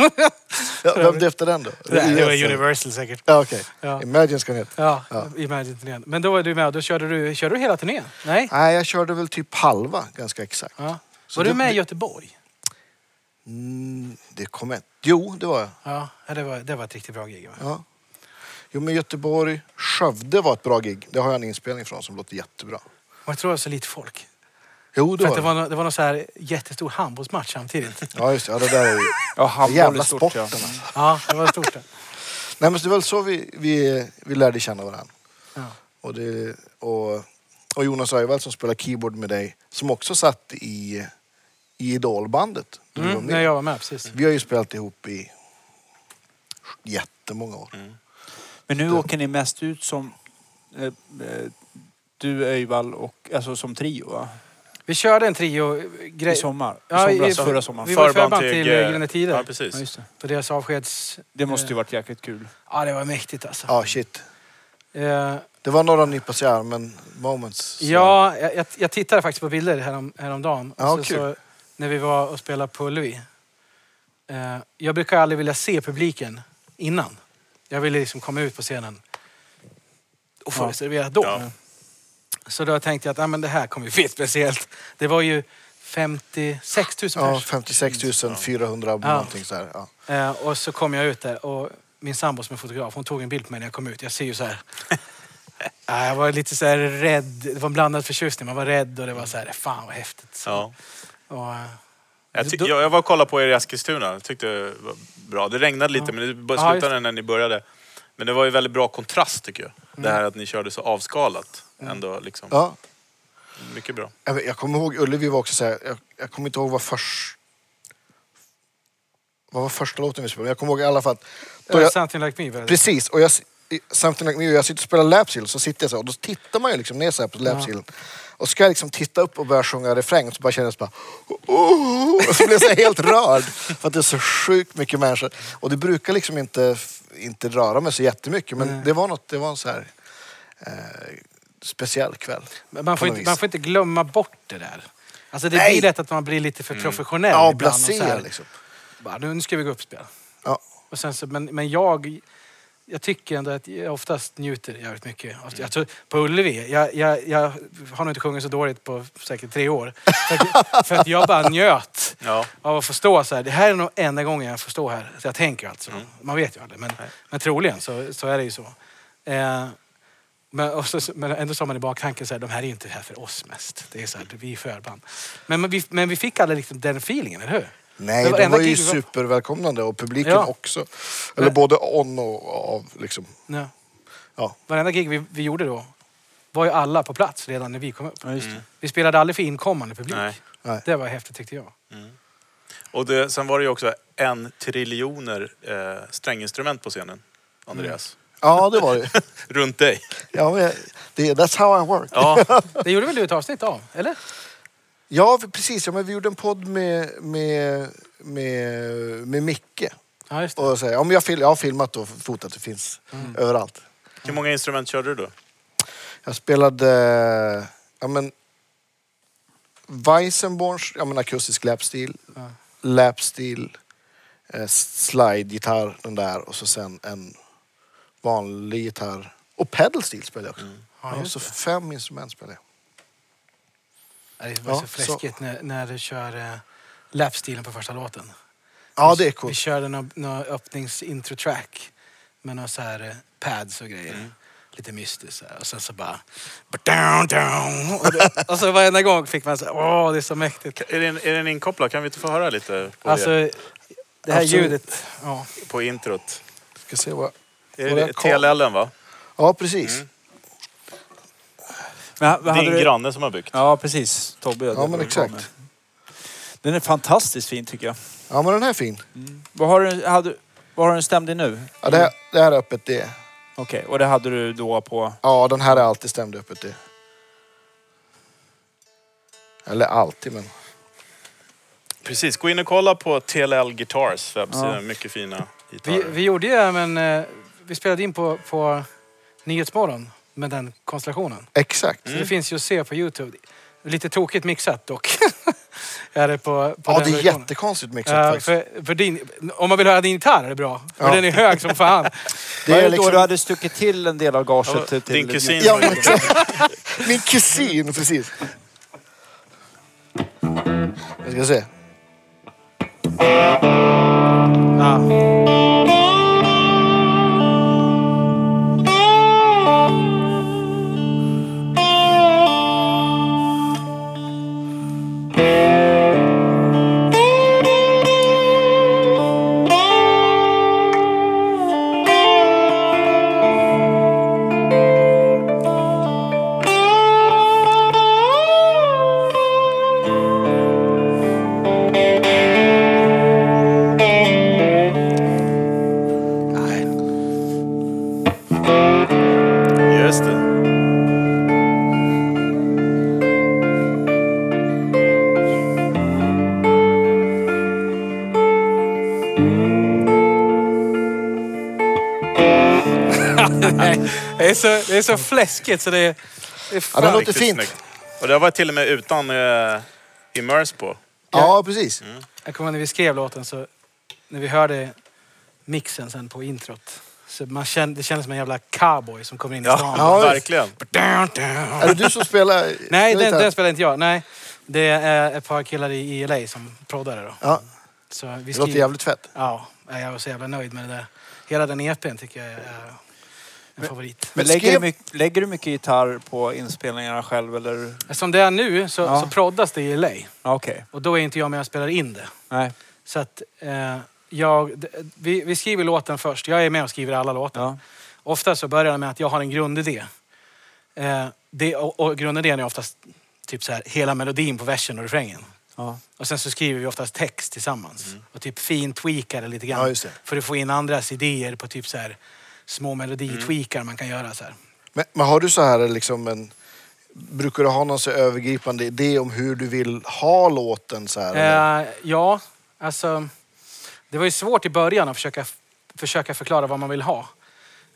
S2: Ja, vem döpte den då?
S4: det var Universal säkert.
S2: Ja, okej.
S4: Ja.
S2: Imagine ska den heta.
S4: Ja,
S2: Ja.
S4: Imagine-turnén. Men då var du med och då körde du, körde du hela turnén? Nej?
S2: Nej, jag körde väl typ halva ganska exakt.
S4: Ja.
S2: Så
S4: Var du
S2: det-
S4: med i
S2: det-
S4: Göteborg?
S2: Mm, det kommer jag inte- Jo, det var jag.
S4: Ja, ja, det var, det var ett riktigt bra gig. va?
S2: Ja. Jo, men Göteborg, Skövde var ett bra gig. Det har jag en inspelning från som låter jättebra.
S4: Och jag tror det var så lite folk.
S2: Jo, det
S4: För att
S2: var
S4: det
S2: det.
S4: var, nå- det var någon så här jättestor handbollsmatch samtidigt.
S2: Ja, just det. Ja, det där är ju...
S5: Ja,
S2: Den
S5: handboll
S2: jävla
S5: är stort,
S2: sporten.
S5: ja.
S2: alltså.
S4: Ja, det var stort. det.
S2: Nej, men så det var väl så vi, vi, vi lärde känna varandra.
S4: Ja.
S2: Och, det, och, och Jonas Öjvall som spelar keyboard med dig, som också satt i, i Idolbandet. då du
S4: Mm,
S2: var med.
S4: när jag var med, precis.
S2: Vi har ju spelat ihop i jättemånga år.
S3: Mm.
S5: Men nu åker ni mest ut som... Eh, eh, du, Öjvall och... Alltså som trio va?
S4: Vi körde en
S5: I
S4: trio-grej.
S5: sommar? I
S4: Ja, i-
S5: somras, förra sommaren?
S4: Vi var i
S3: Förband
S4: förband till
S3: eh,
S4: eh, Gyllene Tider.
S3: Ja, precis.
S5: Ja, just det.
S4: På deras avskeds...
S5: det måste ju varit jäkligt kul.
S4: Ja, det var mäktigt alltså.
S2: Ja, shit.
S4: Eh,
S2: Det var några nypas i armen moments. så-
S4: Ja, jag, jag- jag tittade faktiskt på bilder härom, häromdagen.
S2: Ja,
S4: så,
S2: kul.
S4: så, när vi var och spelade på Louis. Eh, jag brukar aldrig vilja se publiken innan. Jag ville liksom komma ut på scenen och få
S5: Ja.
S4: det serverat då.
S3: Ja.
S4: Så då tänkte jag att ah, men det här kommer ju bli speciellt. Det var ju 56 000
S2: Ja,
S4: pers.
S2: 56 400 någonting så här. Ja.
S4: Eh, och så kom jag ut där och min sambo som är fotograf, hon tog en bild på mig när jag kom ut. Jag ser ju så här... Ja, jag var lite så här rädd. Det var en blandad förtjusning. Man var rädd och det var så här, fan vad häftigt. Så.
S3: Ja.
S4: Och, eh,
S3: Jag, ty-
S4: Då-
S3: jag, jag var och kollade på er i Eskilstuna. Jag tyckte det var bra. Det regnade lite, men det bör-
S4: Ja, just
S3: slutade när ni började. Men det var ju väldigt bra kontrast tycker jag. Det här att ni körde så avskalat. Ändå liksom.
S2: Ja.
S3: Mycket bra.
S2: Jag vet- Jag kommer ihåg, Ullevi var också så här, jag, jag kommer inte ihåg vad först... Vad var första låten vi spelade? Men Jag kommer ihåg i alla fall att... Då
S4: eh,
S2: jag,
S4: Something Like Me var det.
S2: precis, och jag, s- i- Something Like Me, och jag sitter och spelar Lapsil, så sitter jag så här, och då tittar man ju liksom ner så här på Lapsilen. Och ska jag liksom titta upp och börja sjunga refräng, och så bara känner jag så bara... "Åh!" Och så blir jag så här helt rörd, för att det är så sjukt mycket människor. Och det brukar liksom inte, f- inte röra mig så jättemycket, men det var något, det var en så här... Eh, speciell kväll.
S4: Men Man,
S2: på
S4: får
S2: något
S4: inte,
S2: vis.
S4: man får inte glömma bort det där. Alltså det
S2: Nej.
S4: blir lätt att man blir lite för professionell.
S2: Ja,
S4: ibland och så här,
S2: blasé liksom.
S4: bara, nu nu ska vi gå upp och spela.
S2: Ja.
S4: Och sen så, men, men jag, jag tycker ändå att jag oftast njuter jävligt mycket. av- Jag, tror- på Ullevi, jag, jag, jag har nog inte sjungit så dåligt på säkert tre år. För att, för att jag bara njöt
S3: Ja.
S4: av att få stå så här. Det här är nog enda gången jag får stå här. Så jag tänker alltså. Man vet ju aldrig, men, men troligen så, så är det ju så. Eh, men, och så, men ändå sa man i baktanken så här, de här är ju inte här för oss mest. Det är så här, vi är förband. Men, men, vi, men vi fick aldrig liksom den feelingen, eller hur?
S2: Nej,
S4: Det var
S2: de
S4: enda
S2: var ju
S4: gig vi var-
S2: supervälkomnande och publiken
S4: Ja.
S2: också. Eller
S4: Men-
S2: både on och av liksom.
S4: Ja.
S2: Ja.
S4: Varenda gig vi, vi gjorde då var ju alla på plats redan när vi kom upp.
S5: Ja, just det.
S4: Vi spelade aldrig för inkommande publik.
S3: Nej.
S2: Nej.
S4: Det var häftigt tyckte jag.
S3: Och det, sen var det ju också en triljoner eh, stränginstrument på scenen. Andreas.
S2: Ja, det var det.
S3: Runt dig.
S2: Ja, men, det that's how I work. Ja,
S3: Ja.
S4: Det gjorde väl du ett avsnitt av? Eller?
S2: vi- precis. Ja, men vi gjorde en podd med, med, med, med Micke.
S4: Ja, just det.
S2: Och så, här, ja, men jag, fil, jag har filmat och fotat. Det finns överallt.
S3: Hur många instrument körde du då?
S2: Jag spelade... eh, Ja, men, Weissenborns ja, men, akustisk lapstil.
S4: Ja.
S2: Lapstil, eh, slide-gitarr, den där och så sen en vanlig gitarr. Och pedalstil spelade jag också.
S4: Ja,
S2: Mm. Ja,
S4: just
S2: så
S4: det.
S2: fem instrument spelade jag.
S4: Ja, det var
S2: Ja,
S4: så fläskigt när, när du kör eh, lapstilen på första låten.
S2: Ja, det är
S4: Vi
S2: coolt.
S4: körde någon, någon öppningsintro-track med några så här eh, pads och grejer.
S3: Mm.
S4: Lite mystiskt så här. Och sen så bara... Down, down. Och, det, och så varenda gång fick man så här, åh det är så mäktigt.
S3: Är den, är den inkopplad? Kan vi inte få höra lite? På
S4: Alltså,
S3: det?
S4: Det här
S2: Absolut.
S4: ljudet. Ja.
S3: på introt.
S2: Ska se vad...
S3: Är
S2: Våra
S3: det
S2: kar-
S3: TLL va?
S2: Ja, precis.
S5: Men, ha- hade
S3: Din
S5: du-
S3: granne som har byggt.
S5: Ja, precis. Tobbe. det
S2: Ja, men
S5: var du
S2: exakt.
S5: med. Den är fantastiskt fin tycker jag.
S2: Ja, men den här är fin.
S5: Vad har du, hade, vad har du en stämd i nu?
S2: Ja, det, här, det här är öppet D.
S5: Okej, och det hade du då på...
S2: Ja, den här är alltid stämd öppet D. Eller alltid, men...
S3: Precis, gå in och kolla på TLL Guitars webbsida.
S5: Ja.
S3: Mycket fina
S4: Vi,
S3: gitarrer.
S4: vi gjorde ju även... eh, Vi spelade in på, på Nyhetsmorgon med den konstellationen.
S2: Exakt.
S4: Så det finns ju att se på Youtube. Lite tråkigt mixat dock. är det på, på
S2: Ja,
S4: den
S2: det är
S4: versionen.
S2: jättekonstigt mixat
S4: Ja,
S2: faktiskt.
S4: för, för din, om man vill höra din gitarr är det bra. För
S2: Ja.
S4: den är hög som fan.
S2: Det
S5: var
S2: är
S5: det då
S2: liksom-
S5: du hade stuckit till en del av gaget
S3: Ja,
S5: till, till...
S3: din kusin.
S2: Ja, men exakt. Min kusin, precis. Jag ska se.
S4: Ja.
S3: Just det.
S4: Det är så, det är så fläskigt så det är... Det
S2: Ja,
S4: är fan.
S2: den låter
S3: Riktigt
S2: fint.
S3: snyggt. Och det var till och med utan eh, Immerse på.
S2: Ja, precis.
S4: Jag kommer ihåg när vi skrev låten så... När vi hörde mixen sen på introt. Så man kände, det kändes som en jävla cowboy som kommer in i stan.
S2: Ja, visst.
S3: verkligen.
S4: Dun, dun.
S2: Är det du som spelar?
S4: Nej, den,
S2: gitarr?
S4: den spelar inte jag. Nej, det är ett par killar i i LA som proddar det då.
S2: Ja,
S4: Så vi
S2: det
S4: skriver-
S2: låter jävligt fett.
S4: Ja, jag var så jävla nöjd med det där. Hela den EPn tycker jag är en favorit.
S5: Men
S2: Men
S5: lägger,
S2: skrev-
S5: du mycket, lägger du mycket gitarr på inspelningarna själv eller?
S4: Som det är nu så,
S5: Ja.
S4: så proddas det i LA.
S5: Ja, Okej.
S4: Och då är inte jag med och spelar in det.
S5: Nej.
S4: Så att eh, jag... d- Vi, vi skriver låten först. Jag är med och skriver alla låtar.
S5: Ja.
S4: Ofta så börjar det med att jag har en grundidé. Eh, det, och, och grundidén är oftast typ så här, hela melodin på versen och refrängen.
S5: Ja.
S4: Och sen så skriver vi oftast text tillsammans. Och typ fin-tweakar det lite grann.
S2: Mm. Ja, just det.
S4: För att få in andras idéer på typ så här små
S2: Mm.
S4: meloditweakar man kan göra så här.
S2: Men, men har du så här liksom en... Brukar du ha någon så övergripande idé om hur du vill ha låten? Så här, eller?
S4: Eh, ja, alltså. Det var ju svårt i början att försöka, försöka förklara vad man vill ha.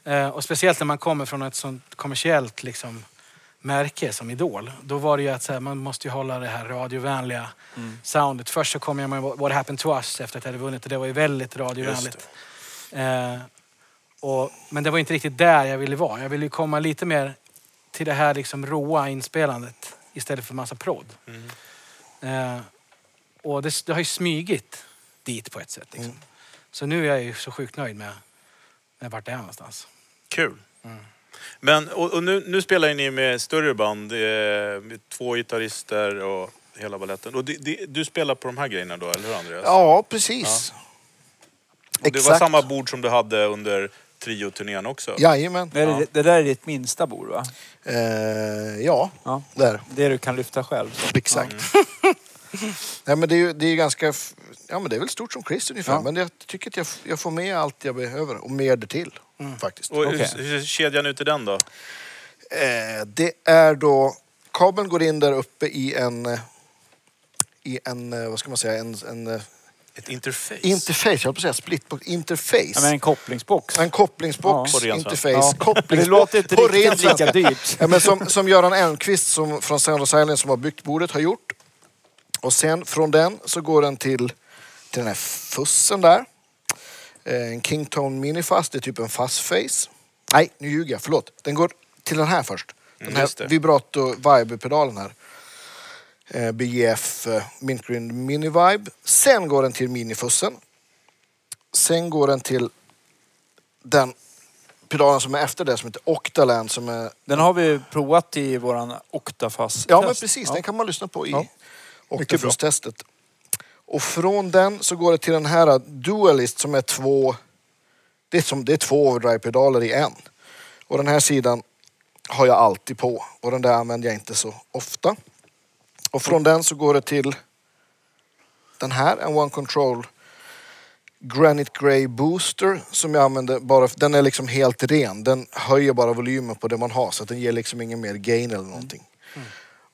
S4: Eh, och speciellt när man kommer från ett sånt kommersiellt liksom, märke som Idol. Då var det ju att så här, man måste ju hålla det här radiovänliga soundet. Först så kom jag med What Happened To Us efter att jag hade vunnit och det var ju väldigt radiovänligt. Eh, och, men det var ju inte riktigt där jag ville vara. Jag ville ju komma lite mer till det här liksom råa inspelandet istället för massa prodd. Eh, och det, det har ju smygit dit på ett sätt. Liksom. Så nu är jag ju så sjukt nöjd med, med vart det är någonstans.
S3: Kul. Men, och, och nu, nu spelar ju ni med större band. Eh, med två gitarrister och hela baletten. Och det, det, du spelar på de här grejerna då, eller hur Andreas?
S2: ja, precis.
S3: och det var
S2: exakt.
S3: samma bord som du hade under trioturnén också.
S2: Jajamän.
S5: Det, är,
S3: Ja.
S5: det där är ditt minsta bord va?
S2: Eh, ja,
S5: Ja.
S2: där.
S5: Det du kan lyfta själv. så.
S2: Exakt.
S5: mm.
S2: Nej, men det är ju det är ju ganska... f- Ja, men det är väl stort som Chris ungefär.
S5: Ja.
S2: Men jag tycker att jag, f- jag får med allt jag behöver och mer därtill
S5: Mm.
S2: faktiskt.
S3: Och
S5: Okej.
S3: hur, hur ser kedjan ut i den då?
S2: Eh, det är då... Kabeln går in där uppe i en... eh, I en, eh, vad ska man säga, en... en eh,
S3: Ett interface?
S2: interface, jag höll på att säga splitbox. Interface.
S5: Ja, men en kopplingsbox.
S2: En kopplingsbox,
S3: Ja, på ren
S2: interface,
S5: Ja.
S2: kopplingsbox.
S5: Det låter inte
S2: på ren
S5: riktigt
S2: svenska.
S5: lika dyrt.
S2: Ja, men som, som Göran Elmqvist som, från Sound of Silence som har byggt bordet har gjort. Och sen från den så går den till, till den här fussen där. Eh, En Kingtone Minifast, det är typ en fast face. Nej, nu ljuger jag, förlåt. Den går till den här först. Den
S3: Mm, just
S2: här
S3: det.
S2: vibrato vibe-pedalen här. Eh, BGF eh, Mint Green Mini Vibe. Sen går den till minifussen. Sen går den till den pedalen som är efter det som heter Octaland som är
S5: Den har vi provat i våran Octafast.
S2: Ja, men precis. Den kan man lyssna på i
S5: Ja.
S2: Octafus-testet. Och från den så går det till den här äh, Dualist som är två... Det är, som, det är två overdrive-pedaler i en. Och den här sidan har jag alltid på och den där använder jag inte så ofta. Och från den så går det till den här, en One Control Granite Grey Booster som jag använder bara för, den är liksom helt ren. Den höjer bara volymen på det man har så att den ger liksom ingen mer gain eller någonting.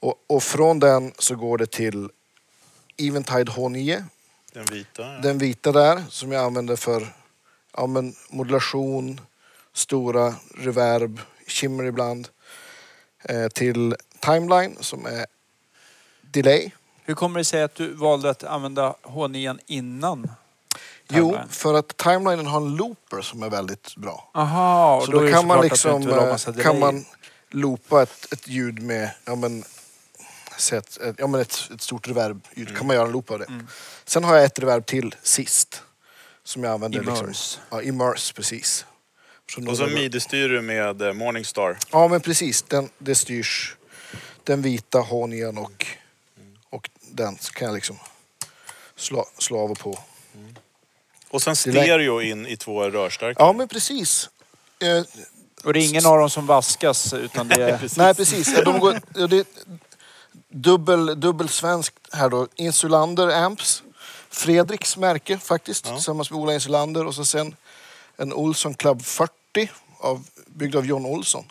S2: Och, och från den så går det till Eventide H9
S3: Den vita. ja.
S2: den vita där som jag använder för ja, men modulation, stora reverb, shimmer ibland. Eh, till Timeline som är delay.
S5: Hur kommer det sig att du valde att använda H9 innan?
S2: Jo,
S5: Timeline?
S2: för att Timelinen har en looper som är väldigt bra.
S5: Aha, och
S2: Så
S5: då, är
S2: då
S5: det
S2: kan man
S5: såklart att du inte
S2: liksom
S5: vill ha
S2: eh,
S5: massa
S2: kan
S5: delay.
S2: man loopa ett, ett ljud med ja, men, säg ett, ett, ja, men ett, ett stort reverb-ljud.
S5: Mm.
S2: Kan man göra en loop av det. Sen har jag ett reverb till sist. Som jag använder.
S5: Immerse.
S2: Liksom, ja, immerse, precis. Som
S3: Och så
S2: då-
S3: midi-styr du med eh, Morningstar.
S2: Ja, men precis. Den, det styrs. Den vita honien och, och den så kan jag liksom slå, slå av och på.
S3: Och sen
S2: Det är lä-
S3: stereo in i två rörstärkare.
S2: Ja, men precis. Eh,
S5: Och det är ingen av dem som vaskas utan det är...
S2: nej, precis. Ja, De går, ja, det är dubbel, dubbel svensk här då. Insulander Amps. Fredriks märke faktiskt, tillsammans med Ola Insulander. Och så sen en Olsson Club 40, av, byggd av John Olsson.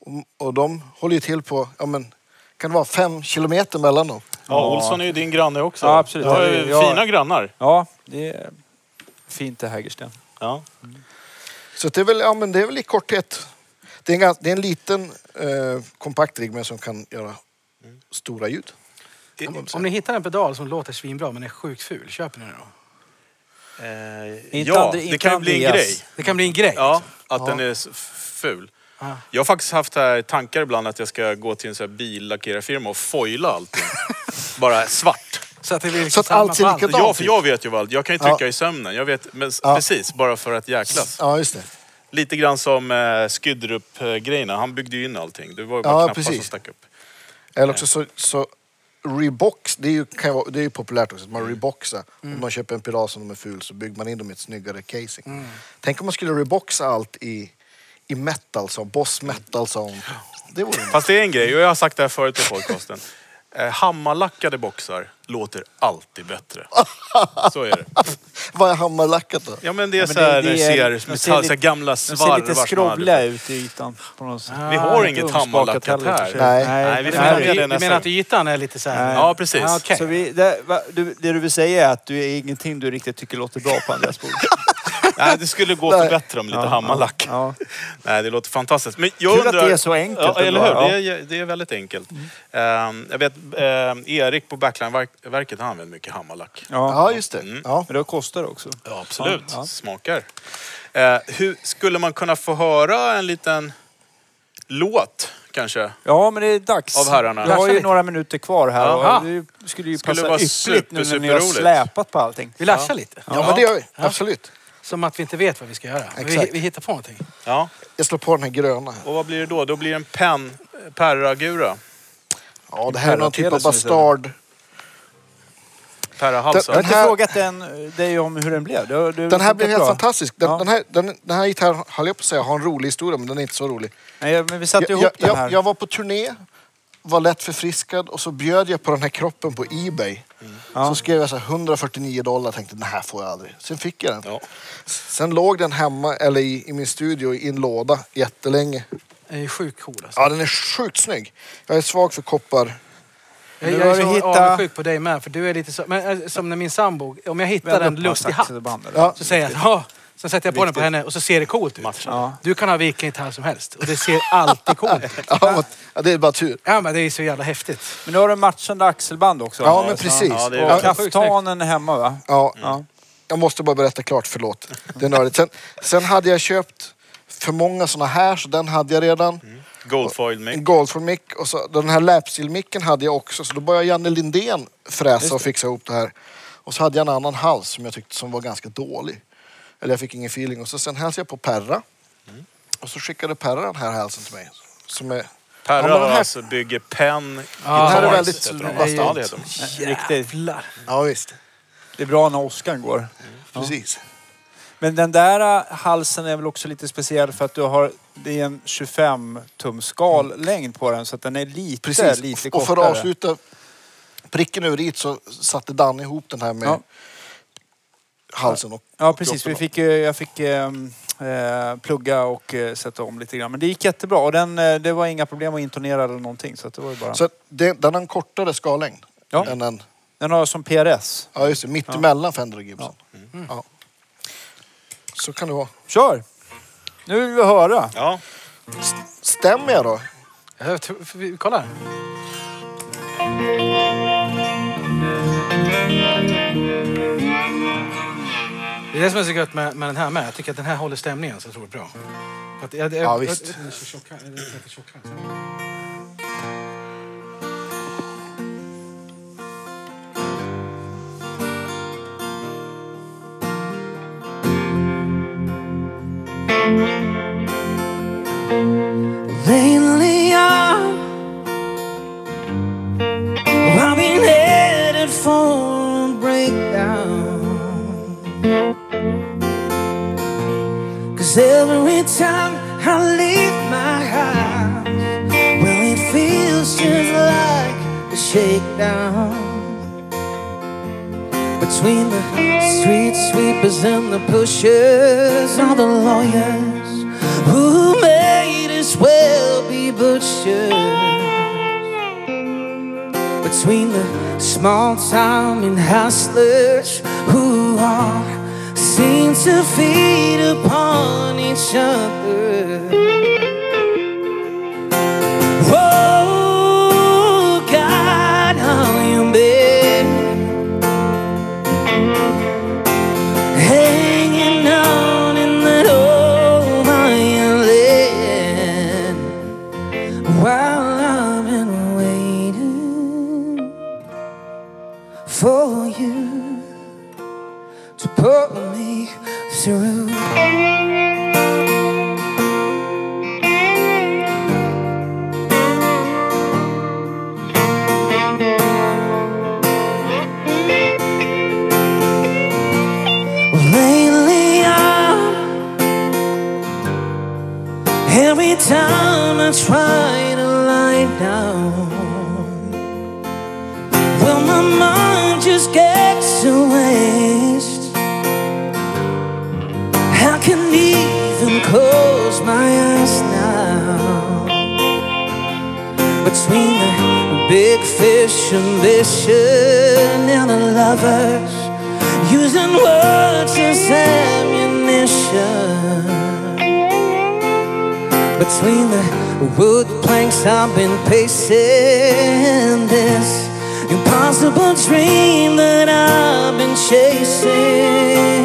S2: Och, och de håller ju till på, ja men, kan det vara fem kilometer mellan dem?
S3: Ja, Olsson är ju din granne också.
S5: Ja, absolut.
S3: Du har ju
S5: Ja.
S3: fina grannar.
S5: Ja, det är fint det Hägersten.
S3: Ja.
S2: Så att det är väl, ja, men det är väl i korthet. Det är en, gans- det är en liten eh, kompakt rigg men som kan göra stora ljud.
S3: I-
S4: Mm. Om ni hittar en pedal som låter svinbra men är sjukt ful, köper ni den då?
S3: Eh,
S5: Inte
S3: ja,
S5: Andre-
S3: det
S5: inte
S3: kan ju bli en
S5: Andreas.
S3: grej.
S4: Det kan bli en grej.
S3: Mm. Ja, att den är s- f- ful.
S4: Ja.
S3: Jag har faktiskt haft här tankar ibland att jag ska gå till en sån här billackerarfirma och foila allting. Bara svart.
S4: Så att, det blir liksom
S2: Så att
S4: samma
S2: allt ser
S4: band.
S2: likadant
S3: Ja, för jag vet ju vad. Jag kan ju trycka
S2: Ja.
S3: i sömnen. Jag vet, men s-
S2: Ja.
S3: precis, bara för att jäklas.
S2: Ja, just det.
S3: Lite grann som eh, Skydderup-grejerna. Han byggde ju in allting. Det var ju bara
S2: Ja,
S3: knappar som
S2: precis.
S3: stack upp.
S2: Eller också så, så rebox, det är, ju, kan ju vara, det är ju populärt också, att man reboxar. Om man köper en pedal som de är ful så bygger man in dem i ett snyggare casing. Tänk om man skulle reboxa allt i, i metal, som boss metal sound. Det vore ju-
S3: Fast det är en grej, och jag har sagt det här förut på podcasten. Eh, hammarlackade boxar låter alltid bättre. Så är det.
S2: Vad är hammarlackat då?
S3: Ja men det är
S5: Ja, men
S3: så här,
S5: det-
S3: ni
S5: det
S3: ser,
S5: är-
S3: metall,
S5: de ser
S3: så här
S5: lite-
S3: gamla
S5: De ser
S3: svarvar.
S5: lite
S3: som man
S5: skrovliga
S3: hade.
S5: ut i ytan. På något sätt.
S4: Ah,
S3: Vi har
S5: Inte
S3: inget
S5: ugnsbakat
S3: hammarlackat
S5: heller,
S3: här.
S5: för sig.
S2: Nej.
S3: Nej, vi
S4: Du
S3: får
S5: Nej,
S4: menar,
S3: välja
S5: vi-
S3: det
S4: du
S3: nästa
S4: menar
S3: gång.
S4: att ytan är lite så här...
S5: Nej.
S3: Ja, precis.
S4: Ah, okej.
S5: Så vi, det, va, du, det du vill säga är att du är ingenting du riktigt tycker låter bra på Andreas bord.
S3: Nej, det skulle gå att
S2: Nej.
S3: förbättra om lite hammarlack.
S5: Ja.
S3: Nej, det låter fantastiskt. Men jag
S5: Kul att
S3: undrar...
S5: det är så enkelt
S3: Ja, eller hur?
S5: ändå, ja.
S3: Det, är, det är väldigt enkelt. Ehm, jag vet, ehm, Erik på Backline-verket han använder mycket hammarlack.
S5: Ja.
S2: Ja, just det. Ja.
S5: Men det kostar också.
S3: Ja, absolut.
S5: Ja, ja.
S3: Smakar. Eh, hur, skulle man kunna få höra en liten låt kanske?
S5: Ja, men det är dags.
S3: Av herrarna.
S5: Du har
S4: Kanske
S5: ju
S4: lite.
S5: några minuter kvar här.
S4: Jaha.
S5: Och det skulle ju
S3: Skulle
S5: passa
S3: vara
S5: ypperligt nu när
S3: super,
S5: ni har
S3: superroligt.
S5: släpat på allting.
S4: Vi lashar lite.
S2: Ja, men det gör vi. Absolut.
S4: Som att vi inte vet vad vi ska göra. Vi,
S2: Exakt.
S4: vi hittar på någonting.
S3: Ja.
S2: Jag slår på den här gröna. här.
S3: Och vad blir det då? Då blir det en pen, perragura.
S2: Ja, det här är någon typ av
S5: Perratele som vi säger.
S2: bastard.
S5: Jag har
S3: Perrahalsen.
S2: Den
S5: inte
S2: här-
S5: frågat den, dig om hur den blev. Du, du
S2: Den här
S5: funkar
S2: blev helt
S5: bra.
S2: fantastisk. Den,
S5: Ja.
S2: den, här, den, den här gitarren, höll jag på att säga, har en rolig historia, men den är inte så rolig.
S5: Nej, men vi satte
S2: jag,
S5: ihop
S2: jag,
S5: den här.
S2: jag, jag var på turné, var lätt förfriskad och så bjöd jag på den här kroppen på Ebay.
S5: Ja.
S2: Så skrev jag så här 149 dollar tänkte den här får jag aldrig. Sen fick jag den.
S3: Ja.
S2: Sen låg den hemma, eller i, i min studio, i en låda jättelänge.
S4: Den är ju sjukt cool alltså.
S2: Ja, den är sjukt snygg. Jag är svag för koppar.
S4: Jag,
S5: Nu
S4: jag är
S5: har du
S4: så
S5: hittat-
S4: avundsjuk på dig med. För du är lite så, men, eh, som när min sambo, om jag hittar en lustig hatt
S5: Ja.
S2: Ja.
S4: så säger jag att "Ja." Sen sätter jag på den på
S5: Viktigt.
S4: henne och så ser det coolt ut.
S5: Ja.
S4: Du kan ha vilken gitarr som helst och det ser alltid coolt ut.
S2: Ja, vad- ja, det är bara tur.
S4: Ja men det är så jävla häftigt.
S5: Men nu har du matchande axelband också.
S2: Ja,
S5: Andreas,
S2: men precis.
S3: Ja, det är
S5: Och
S3: Ja.
S5: kaftanen är hemma va?
S2: Ja,
S5: Ja.
S2: Jag måste bara berätta klart, förlåt. Det är nördigt. Sen, sen hade jag köpt för många såna här, så den hade jag redan.
S3: Goldfoil mic.
S2: En Goldford-mick och så, den här lapsteel-micken hade jag också. Så då började Janne Lindén fräsa och fixa ihop det här. Och så hade jag en annan hals som jag tyckte som var ganska dålig. Eller jag fick ingen feeling. Och så sen hälsade jag på Perra.
S5: Mm.
S2: Och så skickade Perra den här halsen till mig. Som är...
S3: Perra
S2: Ja, men den här-
S3: alltså bygger pen,
S4: Ja.
S2: Det här är
S3: guitars,
S2: väldigt
S3: heter de.
S2: bastant.
S3: Ja, det heter de.
S5: Riktigt.
S4: Jävlar.
S2: Ja, visst.
S5: Det är bra när åskan går.
S2: Precis.
S5: Men den där äh, halsen är väl också lite speciell för att du har... Det är en 25-tumsskal längd på den så att den är lite,
S2: Precis.
S5: lite
S2: och
S5: kortare.
S2: för att avsluta pricken över i så satte Danne ihop den här med
S5: Ja.
S2: halsen. Och,
S5: Ja,
S2: och
S5: precis.
S2: kroppen
S5: Vi
S2: då.
S5: fick, eh, jag fick ehm, eh, plugga och eh, sätta om lite grann. Men det gick jättebra. Och den, eh, det var inga problem att intonera eller någonting. Så att det var ju bara...
S2: Så att det, den har en kortare skallängd.
S5: Ja.
S2: Än en,
S5: Den har som PRS.
S2: ja, just det. Mitt emellan Fender och Gibson. Ja. Så kan det vara.
S5: Kör! Nu vill vi höra.
S3: Ja.
S2: Stämmer jag då?
S4: Jag tror- för Eh, vi- Kolla. här. Det är det som är så gött med, med den här med. Jag tycker att den här håller stämningen så otroligt bra. För Att, jag, jag,
S2: Ja, visst.
S4: Jag, jag, den är så alltså. tjock här. Den är lite tjock här.
S6: Lately I'm well, I've been headed for a breakdown Cause every time I leave my house Well it feels just like a shakedown Between the street sweepers and the pushers All the lawyers who may as well be butchers between the small town and hustlers who all seem to feed upon each other. Oh God, how you been hanging on in that old violin? while I've been waiting for you to put me through. Lately, I'm Every time I try to lie down, well, my mind just gets to waste. I can even close my eyes now. Between the big fish ambition and the lovers, using words as ammunition. Between the wood planks I've been pacing This impossible dream that I've been chasing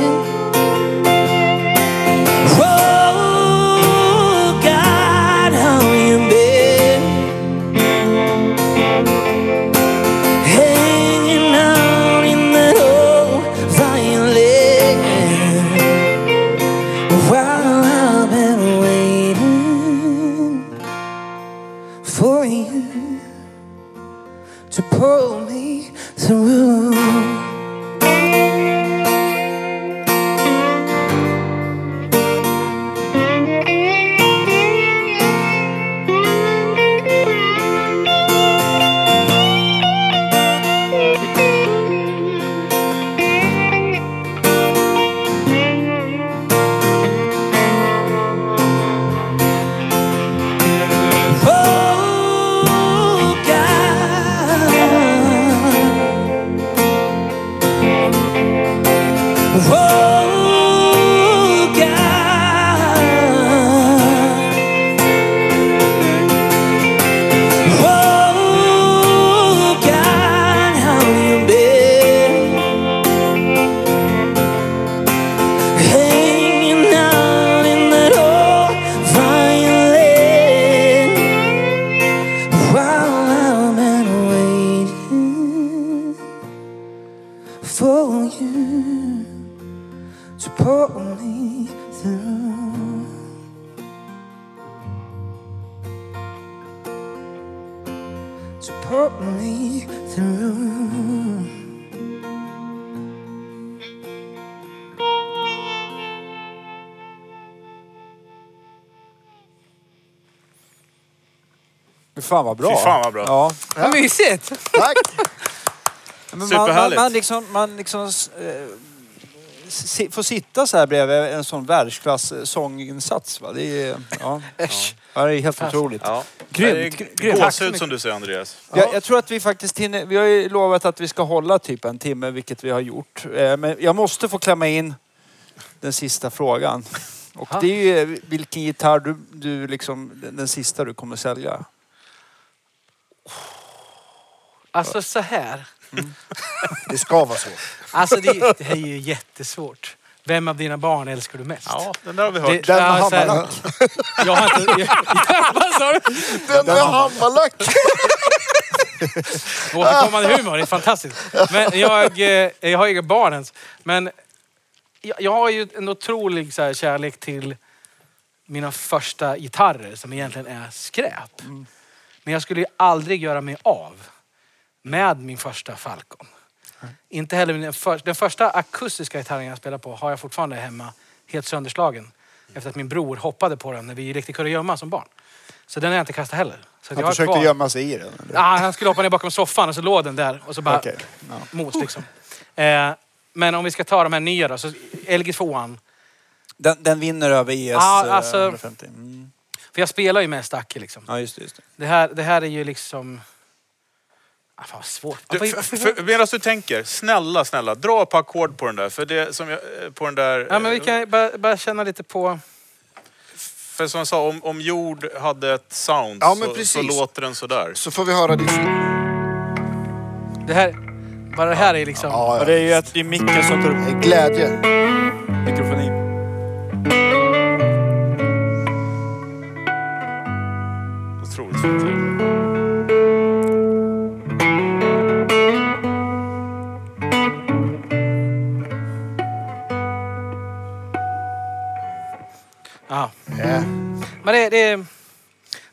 S6: Oh God, how you been Hanging out in that old violin while I've been waiting for you to pull me through. Oh God. Oh God. Oh God, how you been? Hanging out in that old violin while I've been waiting for you to pull me through. To pull me through.
S5: fan vad bra.
S3: Fy fan vad bra.
S5: Ja.
S6: Vad mysigt!
S2: Tack!
S5: Men man, man,
S3: Superhärligt.
S5: man liksom, man liksom eh, si, får sitta så här bredvid en sån världsklass eh, sånginsats. Va? Det är, ja. Ja, det är helt otroligt.
S3: Ja.
S5: Grymt,
S3: Det är
S5: gr- grymt. Tack så
S3: Gåshud
S5: mycket.
S3: som du säger Andreas.
S5: Jag, jag tror att vi faktiskt hinner, vi har ju lovat att vi ska hålla typ en timme, vilket vi har gjort. Eh, Men jag måste få klämma in den sista frågan. Och det är ju eh, vilken gitarr du, du liksom, den den sista du kommer sälja.
S4: Alltså så här.
S2: Det ska vara så.
S4: Alltså det, det här är ju jättesvårt. Vem av dina barn älskar du mest?
S3: Ja, den där har vi hört.
S4: Det,
S2: Den med
S4: ja, så här- jag har inte... Jag, vad sa du?
S2: Den med hammarlack!
S4: Återkommande humor, det är fantastiskt. Men jag, eh, jag har ju barn ens. Men jag, jag har ju en otrolig så här, kärlek till mina första gitarrer som egentligen är skräp. Men jag skulle ju aldrig göra mig av med min första Falcon. Inte heller min för, den första akustiska gitarren jag spelar på har jag fortfarande hemma helt sönderslagen. Efter att min bror hoppade på den när vi lekte kurragömma som barn. Så den har jag inte kastat heller. Så att jag
S7: Han
S4: har
S7: försökte
S4: kvar-
S7: gömma sig i den. eller?
S4: Ja, han skulle hoppa ner bakom soffan och så låg den där och så bara
S7: Okej,
S4: mos liksom. Eh, men om vi ska ta de här nya då, så LG2an.
S5: Den, den vinner över ES
S4: Ja,
S5: eh,
S4: alltså-
S5: 150. Mm.
S4: För jag spelar ju mest Acke liksom.
S5: Ja, just det. Just det.
S4: Det, här, det här är ju liksom... Ah, fan vad svårt.
S3: Du,
S4: Vad-
S3: för, för, medan du tänker, snälla, snälla, dra på ackord på den där. För det som jag, eh, på den där... eh,
S4: ja, men vi kan ju bara, bara känna lite på...
S3: För som jag sa, om, om jord hade ett sound
S2: Ja, men
S3: så, så
S2: precis.
S3: låter den sådär.
S2: Så får vi höra ditt...
S4: Det här, bara det här är liksom...
S5: Ja,
S2: Ja,
S5: det är ju att det är micken som tar upp
S2: ja. Glädje.
S5: mikrofonin.
S3: Otroligt fint.
S4: Ja.
S2: Ja.
S4: Men det, det, är-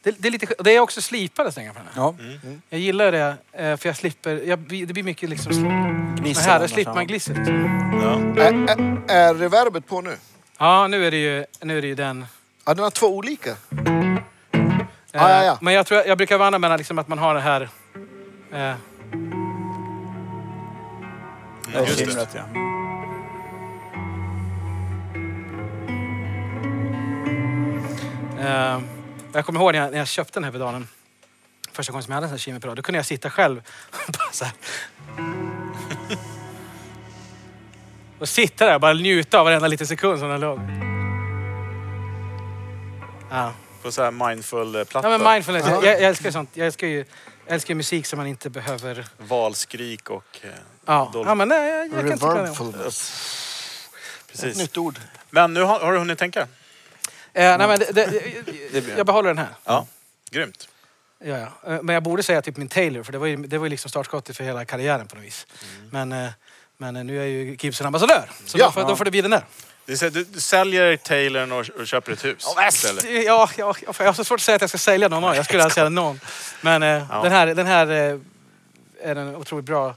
S4: det, det är lite... Det är också slipade strängar på den här.
S5: Ja,
S4: Jag gillar det, eh, för jag slipper... Jag, det blir mycket liksom... Men
S5: gnissel
S4: här, där
S5: annars,
S4: slipper
S5: ja.
S4: man glisset.
S3: Ja.
S2: Är, är, eh, är reverbet på nu?
S4: Ja, nu är det ju, nu är det ju den...
S2: Ja, den har två olika.
S4: Eh,
S2: Ja, ja, ja.
S4: Men jag, tror, jag brukar vandra mellan liksom att man har det här... Eh,
S5: Det är
S3: Just det.
S5: skimret, ja.
S4: eh, jag kommer ihåg när jag, när jag köpte den här pedalen. Första gången som jag hade en sån här Kimi-pedal. Då kunde jag sitta själv. och bara så här. och sitta där och bara njuta av varenda liten sekund som den låg. Ja.
S3: På så här eh, mindful-platta.
S4: ja, men mindfulness. Jag, jag älskar ju sånt. Jag älskar ju, jag älskar ju musik som man inte behöver...
S3: Valskrik och... eh,
S4: Ja,
S3: Dolph.
S4: ja men nej, jag, jag kan inte klara det.
S2: Reverbfulness.
S3: Precis.
S2: Nytt ord.
S3: Men nu har, har du hunnit tänka?
S4: Eh, nej, men det, det, jag behåller den här.
S3: Ja. Grymt.
S4: Ja, ja. Eh, Men jag borde säga typ min Taylor, för det var ju, det var ju liksom startskottet för hela karriären på något vis.
S3: Mm.
S4: Men, eh, men eh, nu är jag ju Gibson ambassadör, så
S2: Ja.
S4: då, får, då får det bli den där.
S3: Det är så här, Du, du säljer Taylorn och, och köper ett hus. istället.
S4: Ja, ja, ja, jag har så svårt att säga att jag ska sälja någon av dem. Jag skulle aldrig sälja någon. Men eh,
S3: Ja.
S4: den här, den här eh, är en otroligt bra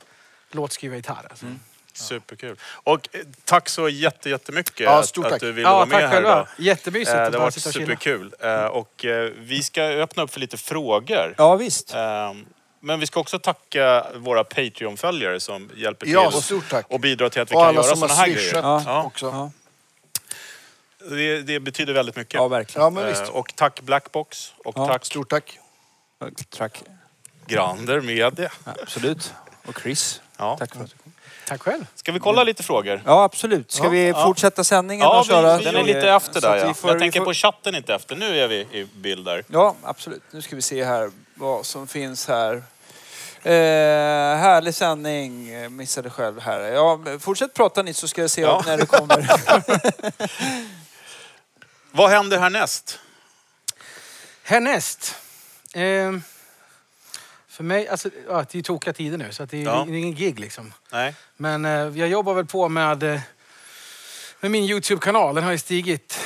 S4: låtskrivargitarr. Alltså.
S3: Mm. Superkul. Och eh, tack så jätte, jättemycket
S2: Ja, stort
S3: att, att
S2: tack.
S3: du ville
S4: Ja,
S3: vara med
S4: tack
S3: här idag.
S4: själva. Jättemysigt
S3: Eh,
S4: att
S3: Det har
S4: bara
S3: varit
S4: sitta och chilla. Mm.
S3: superkul. Eh, Och eh, vi ska öppna upp för lite frågor.
S5: Ja, visst.
S3: Eh, Men vi ska också tacka våra Patreon-följare som hjälper
S2: Ja,
S3: till
S2: stort tack.
S3: och bidrar till att vi
S2: Och
S3: kan
S2: alla
S3: göra
S2: som har
S3: sådana här
S2: swishat
S3: grejer. Ja.
S2: också.
S5: Ja,
S3: Det, det betyder väldigt mycket.
S5: ja verkligen.
S2: Ja, men visst.
S3: Eh, Och tack Blackbox och
S5: Ja.
S3: tack
S2: Stort tack.
S5: Track.
S3: Grander Media.
S5: Ja, absolut. Och Chris.
S3: Ja.
S5: Tack för att du kom.
S4: Tack själv.
S3: Ska vi kolla lite frågor?
S5: Ja, absolut. Ska
S3: Ja,
S5: vi
S3: ja.
S5: fortsätta sändningen
S3: Ja,
S5: och köra?
S3: vi, den är lite
S5: Så
S3: efter
S5: att
S3: där
S5: vi
S3: ja.
S5: får-
S3: Jag
S5: vi
S3: tänker
S5: får-
S3: på chatten inte efter. Nu är vi i bild där.
S5: Ja, absolut. Nu ska vi se här vad som finns här. Eh, härlig sändning. Eh, Missade själv här. Ja, men fortsätt prata ni så ska jag se
S3: Ja.
S5: när det kommer.
S3: Vad händer härnäst?
S4: Härnäst. Eh, för mig, alltså, ja, det är ju tokiga tider nu så att det, är-
S3: Ja.
S4: det är ingen gig liksom.
S3: Nej.
S4: Men eh, jag jobbar väl på med, eh, med min YouTube-kanal. Den har ju stigit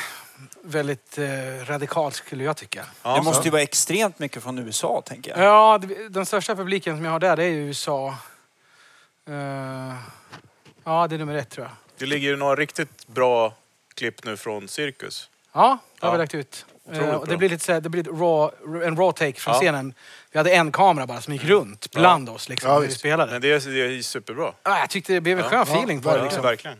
S4: väldigt eh, radikalt skulle jag tycka.
S3: Ja,
S5: det måste ju vara extremt mycket från USA, tänker jag.
S4: Ja, det- den största publiken som jag har där det är ju USA. Eh, ja, det är nummer ett tror jag.
S3: Det ligger ju några riktigt bra klipp nu från Cirkus.
S4: Ja, det har
S3: Ja.
S4: vi lagt ut.
S3: Otroligt
S4: Eh, och det
S3: bra.
S4: blir lite så här, det blir ett raw, en raw take från
S3: Ja. Mm.
S4: scenen. Vi hade en kamera bara som gick runt bland oss liksom,
S2: Ja,
S4: när vi
S2: visst.
S4: spelade.
S3: Men det är, det är superbra.
S4: Ah, jag tyckte det blev en
S3: Ja.
S4: skön feeling på det.
S3: Ja,
S4: Liksom.
S3: Verkligen.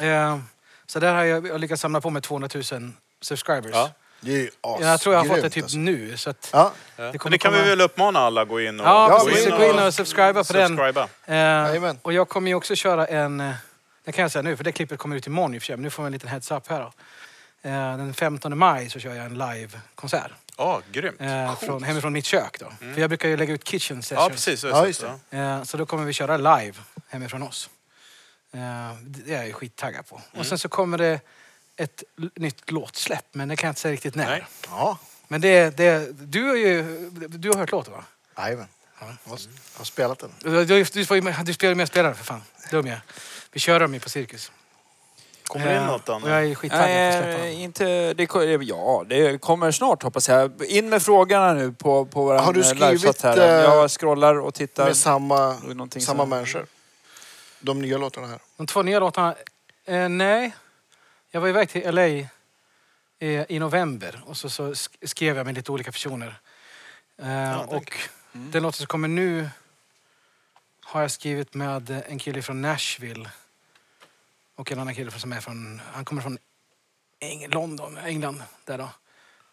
S4: Eh, så där har jag, jag lyckats samla på mig 200 000 subscribers.
S3: Ja.
S2: Det är ju as-
S4: Jag tror jag har fått det
S2: grymt,
S4: typ
S2: alltså.
S4: nu. Så att
S2: Ja,
S3: Det,
S4: kommer
S3: Men det kan
S4: komma-
S3: vi väl uppmana alla att gå in och...
S4: Ja,
S2: Ja,
S4: precis.
S2: gå in
S4: Gå in
S2: och
S4: och subscriba på den.
S3: subscriba.
S4: Eh,
S2: Jajamän.
S4: och jag kommer ju också köra en... eh, Det kan jag säga nu, för det klippet kommer ut imorgon i och för sig. Men nu får vi en liten heads up här då. Eh, Den 15 maj så kör jag en live-konsert.
S3: Ja, grymt.
S4: Eh, från, hemifrån mitt kök då. För jag brukar ju lägga ut kitchen sessions.
S3: Mm. Ja, precis.
S2: Ja,
S3: Ja,
S2: just det.
S4: Eh, så då kommer vi köra live hemifrån oss. Eh, det är jag ju skittaggad på.
S3: Mm.
S4: Och sen så kommer det ett l- nytt låtsläpp, men det kan jag inte säga riktigt när.
S3: Nej.
S2: Ja,
S4: Men det, det, du, har ju, du har hört låten va?
S2: jajamän. Jag har- jag har spelat den.
S4: Du, du, du, får ju med- du spelar ju med spelaren för fan. Dum jag. Vi kör dem ju på Cirkus.
S3: Kommer det in något
S4: Och jag
S3: annat?
S4: är skittaggad på att släppa
S5: Nej,
S4: dem.
S5: eh, inte... Det, ko- ja, det kommer snart hoppas jag. In med frågorna nu på, på vår
S2: Har du
S5: eh,
S2: skrivit,
S5: livechatt här.
S2: eh,
S5: Jag scrollar och tittar.
S2: Med samma,
S5: Det är någonting
S2: samma
S5: som-
S2: människor. De nya låtarna här.
S4: De två nya låtarna, eh, nej. Jag var iväg till LA eh, i november och så, så sk- skrev jag med lite olika personer. Eh, och den låten som kommer nu har jag skrivit med eh, en kille från Nashville och en annan kille från- som är från, han kommer från Eng- London, England där då.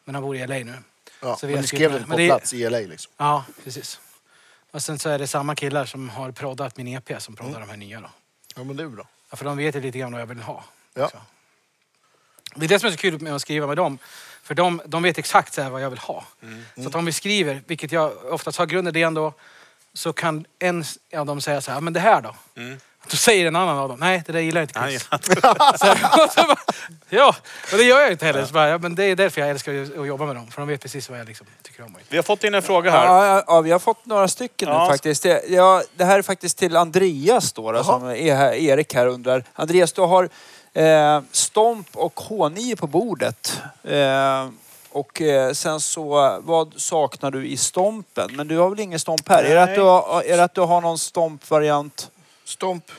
S4: Men han bor i LA nu.
S2: Ja,
S4: Så vi
S2: men
S4: har
S2: ni skrev
S4: skrivit-
S2: den på
S4: men det-
S2: plats i LA liksom.
S4: Ja, precis. Och sen så är det samma killar som har proddat min EP som proddar de här nya då.
S2: Ja, men det är bra.
S4: Ja, för de vet ju lite grann vad jag vill ha.
S2: Ja.
S4: Så. Det är det som är så kul med att skriva med dem. För de, de vet exakt så här vad jag vill ha. Så att om vi skriver, vilket jag oftast har grundidén då, så kan en av dem säga så här, "Ja, men det här då? Då säger en annan av dem, nej det där gillar jag inte
S3: Mm. Nej,
S4: Chris. Så här, och så bara, ja, och det gör jag inte heller. Så bara, ja, men det är därför jag älskar ju att jobba med dem. För de vet precis vad jag liksom tycker om.
S3: Vi har fått in en fråga här.
S5: Ja, ja, ja, vi har fått några stycken
S3: Ja.
S5: nu faktiskt. Det, ja, det här är faktiskt till Andreas då, då som är här, Erik här undrar. Andreas, du har eh, Stomp och H9 på bordet. Eh, och eh, sen så, vad saknar du i Stompen? Men du har väl ingen Stomp här? Är det, att
S3: Nej.
S5: du har, är det att du har någon Stomp-variant?
S2: Stomp.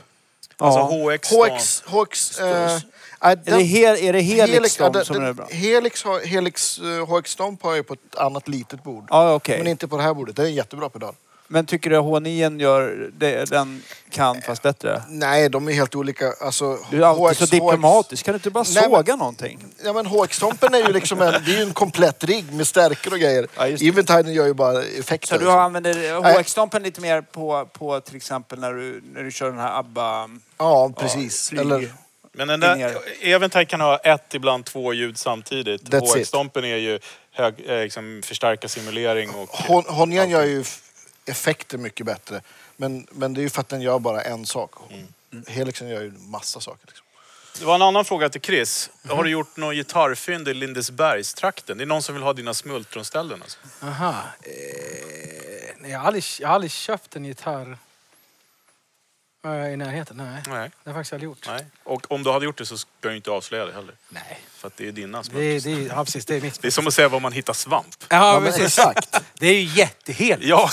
S3: Alltså HX.
S2: HX. HX. Eh, nej,
S5: Är
S2: den-
S5: det, hel, är det Helix,
S2: ja,
S5: Stomp
S2: den-
S5: som
S2: den-
S5: är bra?
S2: Helix, har- Helix eh, HX Stomp har jag på ett annat litet bord.
S5: Ja, okej.
S2: Men inte på det här bordet. Det är en jättebra pedal.
S5: Men tycker du att H9 gör det, den kan fast bättre?
S2: Nej, de är helt olika. Alltså,
S5: Du är alltid så
S2: HX
S5: diplomatisk. Kan du inte bara
S2: Nej, men-
S5: såga någonting?
S2: Ja, men HX-stompen är ju liksom en, det är ju en komplett rigg med stärkor och grejer.
S5: Ja, just det.
S2: Eventiden gör ju bara
S5: Så
S2: effekter. liksom.
S5: du
S2: och så.
S5: använder HX-stompen lite mer på, på till exempel när du, när du kör den här ABBA...
S2: Ja, precis.
S5: flyg.
S2: Eller,
S3: Men den där,
S5: Linjer.
S3: Eventide kan ha ett, ibland två ljud samtidigt.
S2: That's it.
S3: HX-stompen är ju hög, eh, liksom förstärka simulering och...
S2: Hon- Honjan gör ju f- effekter mycket bättre. Men, men det är ju för att den gör bara en sak. Mm. Helixen gör ju massa saker. Liksom.
S3: Det var en annan fråga till Chris. Har du gjort något gitarrfynd i Lindesbergstrakten? Det är någon som vill ha dina smultronställen alltså.
S4: Aha. Eh, nej, jag, har aldrig, jag har aldrig köpt en gitarr eh, i närheten. Nej.
S3: Nej.
S4: Det har jag faktiskt aldrig gjort.
S3: Nej. Och om du hade gjort det så ska jag ju inte avslöja det heller.
S4: Nej.
S3: För att det är dina
S4: Det, är-
S3: smultronställen.
S4: det, är- ja, precis, det är mitt.
S3: Det är som att säga var man hittar svamp.
S4: Ja,
S2: men
S4: precis.
S2: exakt.
S4: Det är ju jätteheligt.
S3: Ja,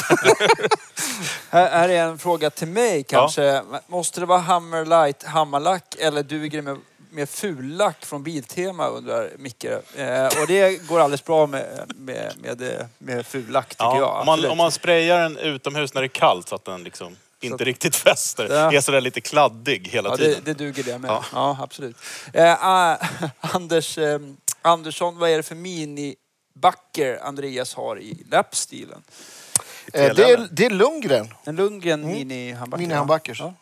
S5: Här, här är en fråga till mig kanske. Måste det vara Hammerlight Hammarlack eller duger det med, med fullack från Biltema undrar Micke. Eh, och det går alldeles bra med, med, med, eh, med fullack tycker jag.
S3: Om, man,
S5: absolut.
S3: om man sprayar den utomhus när det är kallt så att den liksom inte riktigt fäster.
S5: Ja.
S3: Är sådär lite kladdig hela
S5: Ja, det,
S3: tiden.
S5: det duger det med. Ja,
S3: Ja.
S5: absolut. Eh, ah, Anders eh, Andersson, vad är det för minibacker Andreas har i lappstilen?
S2: Eh, det, är,
S3: PLM.
S2: det är Lundgren
S5: En Lundgren
S2: Mm.
S5: mini-handbacker.
S2: Minihandbackers.
S5: Ja.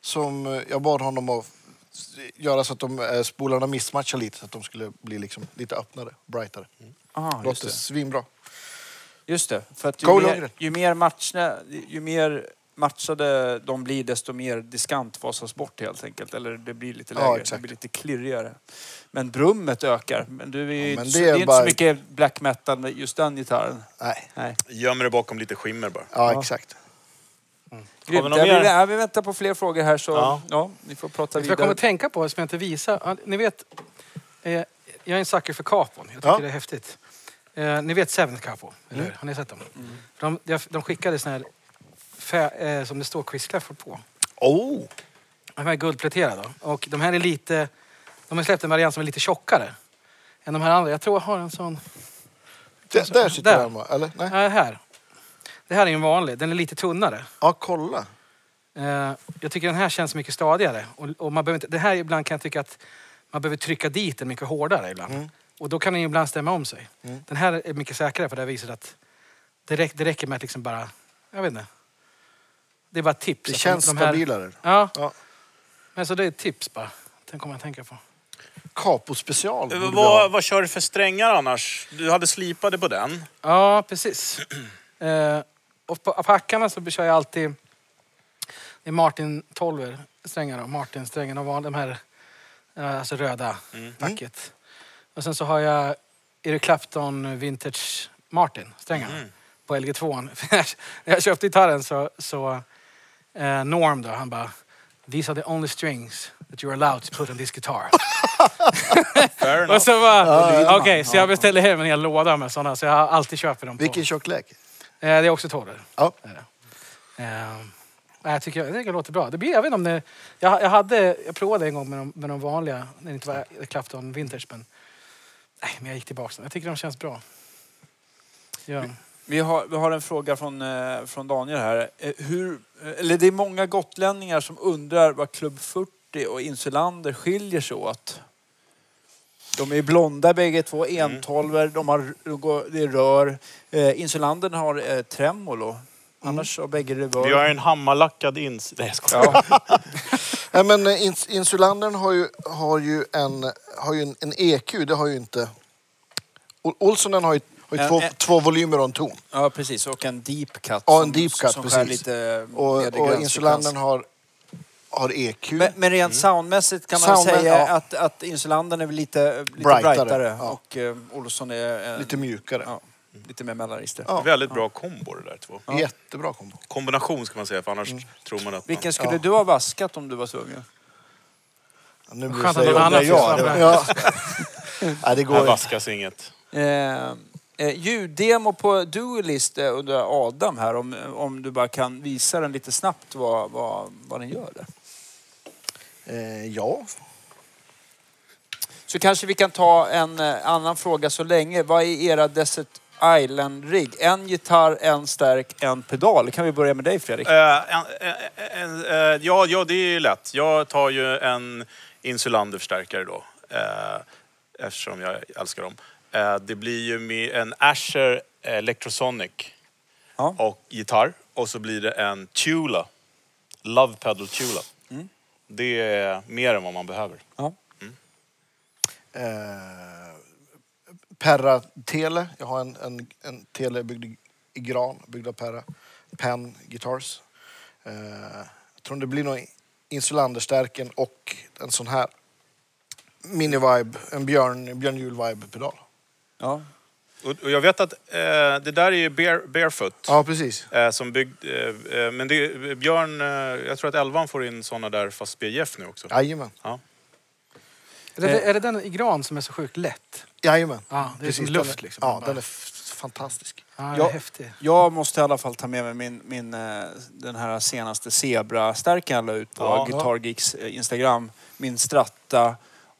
S2: som eh, jag bad honom att s- göra så att de, eh, spolarna missmatchar lite så att de skulle bli liksom lite öppnare, brightare.
S5: Aha, just,
S2: Låter
S5: det.
S2: svinbra.
S5: just det. För att ju, mer,
S2: Carl Lundgren.
S5: ju, mer matchne, ju mer matchade de blir desto mer diskant fasas bort helt enkelt. Eller det blir lite
S2: Ja,
S5: lägre, det
S2: exakt.
S5: blir lite klirrigare. Men brummet ökar. Men du är ju
S2: men
S5: inte, så-
S2: det
S5: det
S2: är
S5: är inte
S2: bara-
S5: så mycket black metal med just den gitarren.
S2: Nej.
S5: Nej.
S3: Gömmer det bakom lite skimmer bara.
S2: Ja,
S5: Ja.
S2: exakt.
S3: Har vi
S5: Grymt.
S3: någon
S5: Ja,
S3: mer?
S5: vi, ja, vi väntar på fler frågor här så ja.
S3: Ja.
S5: ni får prata
S4: Jag kommer
S5: vidare.
S4: att tänka på, som jag inte visar. Ja, Ni vet, eh, jag är en sucker för capon. Jag tycker
S2: Ja. Mm.
S4: det är häftigt. Eh, ni vet Seventh Capo, eller hur? Har ni sett dem? De, de, de skickade såna här fä, eh, som det står Chris Clafford på.
S3: Oh.
S4: De här är guldpläterade. då. Och de här är lite... De har släppt en variant som är lite tjockare. än de här andra. Jag tror jag har en sån.
S2: Där, där sitter
S4: Där.
S2: den va? Eller? Nej?
S4: Nej, här. Det här är ju en vanlig. Den är lite tunnare.
S2: Ja, kolla.
S4: Eh, Jag tycker den här känns mycket stadigare. Och, och man behöver inte, det här ibland kan jag tycka att man behöver trycka dit den mycket hårdare ibland.
S2: Mm.
S4: Och då kan den ju ibland stämma om sig. Den här är mycket säkrare på det här viset att det, räck, det räcker med att liksom bara, jag vet inte. Det är bara ett tips.
S2: Det
S4: Att
S2: känns
S4: de- de här-
S2: stabilare.
S4: Ja,
S2: Ja.
S4: men så det är ett tips bara. Den kommer jag att tänka på.
S2: Capo special. borde vi ha.
S3: Eh, Vad, vad kör du för strängar annars? Du hade slipade på den.
S4: Ja, precis. Eh, och på, på hackarna så kör jag alltid det är Martin 12 strängar då. Martin strängen och van- de här eh, alltså röda packet. Och sen så har jag Eric Clapton Vintage Martin strängarna på LG2. När jag köpte gitarren så, så eh, Norm då, han bara These are the only strings that you're allowed to put on this guitar.
S3: Fair
S4: och
S3: enough.
S4: så bara, okej, så jag beställde hem en hel låda med sådana så jag alltid köper dem på.
S2: Vilken tjocklek.
S4: Eh, Det är också tårar.
S2: Ja.
S4: jag, tycker, jag tycker det låter bra. Det blir, jag, vet inte om det, jag, jag, hade, jag provade en gång med de, med de vanliga, när det inte var Clapton Vintage. Men, nej, men jag gick tillbaka. Jag tycker de känns bra. Ja.
S5: Vi har, vi har en fråga från, eh, från Daniel här. Eh, Hur, eh, eller det är många gotlänningar som undrar vad Klubb 40 och Insulander skiljer sig åt. De är blonda bägge två,
S3: Mm.
S5: entolver, de har, de går- det är rör. Eh, Insulander har eh, tremolo.
S2: Mm.
S5: Annars har bägge reverb.
S3: Vi har en hammarlackad ins... Nej, jag skojar.
S2: Nej, men eh, ins insulandern har ju, har ju, en, har ju en, en EQ. Det har ju inte... Ol- Olssonen har ju, har ju
S5: Ja,
S2: två,
S5: eh.
S2: två volymer och en ton.
S5: Ja, precis. Och en deep cut.
S2: Ja, en
S5: som-
S2: deep cut,
S5: som skär
S2: precis.
S5: lite nedre
S2: Och, och
S5: gränsfrekvens.
S2: insulandern har, har E EQ.
S5: Men, men rent soundmässigt kan man
S2: Soundmä-
S5: säga
S2: Mm. ja.
S5: att, att Insulanden är väl lite, lite
S2: Brightare,
S5: brightare,
S2: ja.
S5: och eh, Olsson är eh,
S2: Lite mjukare.
S5: ja, lite mer mellanister.
S2: Ja.
S3: Väldigt bra kombo det där två.
S2: Jättebra kombo.
S3: Kombination ska man säga, för annars tror man att man...
S5: Vilken skulle
S2: Ja.
S5: du ha vaskat om du var tvungen?
S2: Ja, Nu
S4: Skönt att
S2: det-
S4: någon annan
S2: det är jag.
S4: sysslar med.
S2: Ja. Nej, det går
S3: Här
S2: inte.
S3: vaskas inget.
S5: Eh, eh, ljuddemo på Duelist eh, undrar Adam här om, om du bara kan visa den lite snabbt vad, vad, vad den gör där.
S2: Eh, ja.
S5: Så kanske vi kan ta en eh, annan fråga så länge. Vad är era Desert Island-rigg? En gitarr, en stärk, en pedal. Kan vi börja med dig Fredrik?
S3: Eh, en- en- en- eh, ja, ja, det är ju lätt. Jag tar ju en Insulander-förstärkare då. eh, Eftersom jag älskar dem. Eh, Det blir ju med en Asher Electrosonic
S5: Ja.
S3: och gitarr. Och så blir det en Tula. Love Pedal Tula. Det är mer än vad man behöver.
S5: Ja.
S2: Eh, Perra Tele. Jag har en, en, en Tele byggd i- i gran, byggd av Perra. Pen Guitars. Eh, jag tror det blir nog Insulanderstärken och en sån här mini-vibe, en Björn, Björn Juhl-vibe-pedal.
S5: Ja.
S3: Och, och jag vet att eh, det där är ju bare, Barefoot.
S2: Ja, precis.
S3: Eh, som byggd, eh, eh, men det, Björn, eh, jag tror att elvan får in såna där fast BJF nu också.
S2: Jajamän.
S3: Ja.
S4: Är, det, är det den i gran som är så sjukt lätt?
S2: Jajamän.
S4: Ja, det är som
S2: Precis,
S4: luft
S2: den är,
S4: liksom.
S2: Ja,
S4: Bara-
S2: den är f- fantastisk.
S4: Ja, den är
S5: Ja.
S4: häftig.
S5: Jag måste i alla fall ta med mig min, min, eh, den här senaste zebra-stärken jag la ut på
S3: Ja.
S5: Guitar Geeks eh, Instagram. Min stratta.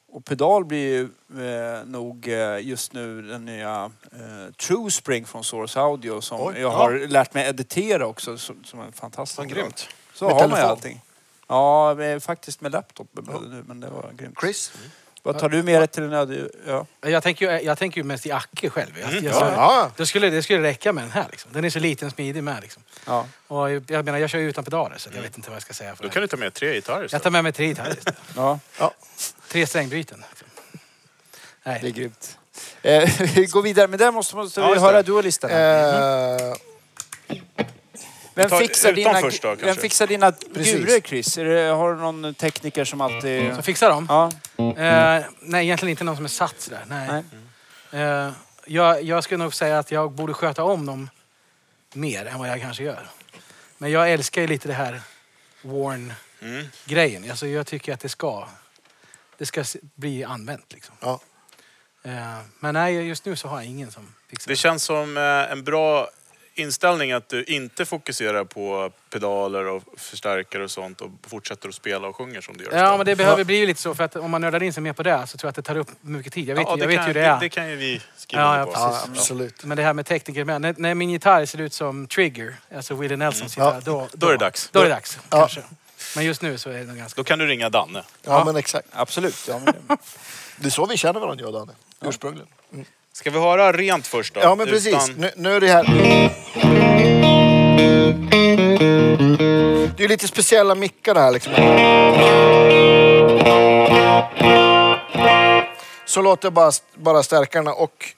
S5: Och pedal blir ju eh, nog eh, just nu den nya eh, True Spring från Source Audio som
S2: Oj,
S5: jag har lärt mig editera också som, som är fantastisk.
S3: Vad grymt.
S5: Så
S2: Med
S5: har man ju
S2: telefon?
S5: allting. Ja, men faktiskt med laptop eh, nu, men det var grymt.
S2: Chris?
S5: Vad tar du med dig till en öde... Ja.
S4: Jag tänker, ju, jag tänker ju mest i Acke själv. Jag, jag,
S2: Ja. ja.
S4: det, skulle, det skulle räcka med den här. Liksom. Den är så liten och smidig med. Liksom.
S5: ja.
S4: Och jag, jag menar, jag kör ju utan pedaler så jag vet inte vad jag ska säga. För
S3: Då
S4: det.
S3: kan du ta med tre gitarrer
S4: Jag
S3: istället.
S4: tar med mig tre liksom. gitarrer istället.
S5: ja.
S4: Tre strängbyten. Nej.
S5: Det är grymt. Eh, vi går vidare, men där måste, måste
S3: Ja,
S5: vi
S3: just det.
S5: höra dualisten.
S2: Eh,
S5: vem,
S3: tar
S5: fixar
S3: utan
S5: dina,
S3: först då,
S5: vem
S3: kanske.
S5: fixar dina
S2: Precis.
S5: gurer, Chris? Är det, har du någon tekniker som
S3: Mm.
S5: alltid...
S4: Så fixar de.
S5: Ja,
S4: Eh, nej, egentligen inte någon som är satt sådär. Nej.
S5: nej.
S4: Eh, jag, jag skulle nog säga att jag borde sköta om dem mer än vad jag kanske gör. Men jag älskar ju lite det här worn-grejen. Alltså, jag tycker att det ska, det ska se- bli använt. Liksom.
S2: ja.
S4: Eh, men nej, just nu så har jag ingen som fixar
S3: Det känns som eh, en bra inställning att du inte fokuserar på pedaler och förstärkare och sånt och fortsätter att spela och sjunger som du gör.
S4: Ja, men det behöver bli ju lite så för att om man nördar in sig mer på det så tror jag att det tar upp mycket tid. Jag vet,
S3: Ja,
S4: ju- jag vet
S3: kan,
S4: ju hur det är.
S3: Det, det kan ju vi skriva
S4: Ja,
S3: under
S4: ja,
S3: på.
S2: Ja, absolut.
S4: Men det här med tekniker med. När, när min gitarr ser ut som Trigger, alltså Willie Nelsons
S2: Ja.
S4: gitarr, då,
S3: Då är det dags.
S4: Då är
S3: Då,
S4: det dags, kanske. Men just nu så är det nog ganska...
S3: då kan du ringa Danne.
S2: Ja, men exakt.
S5: Absolut. Ja, men det,
S2: Det är så vi känner varandra, jag och Danne. Ursprungligen.
S3: Ska vi höra rent först då?
S2: Ja, men precis.
S3: Utan-
S2: Nu, nu är det här. Det är lite speciella mickar det här liksom. Så låter jag bara, bara stärkarna och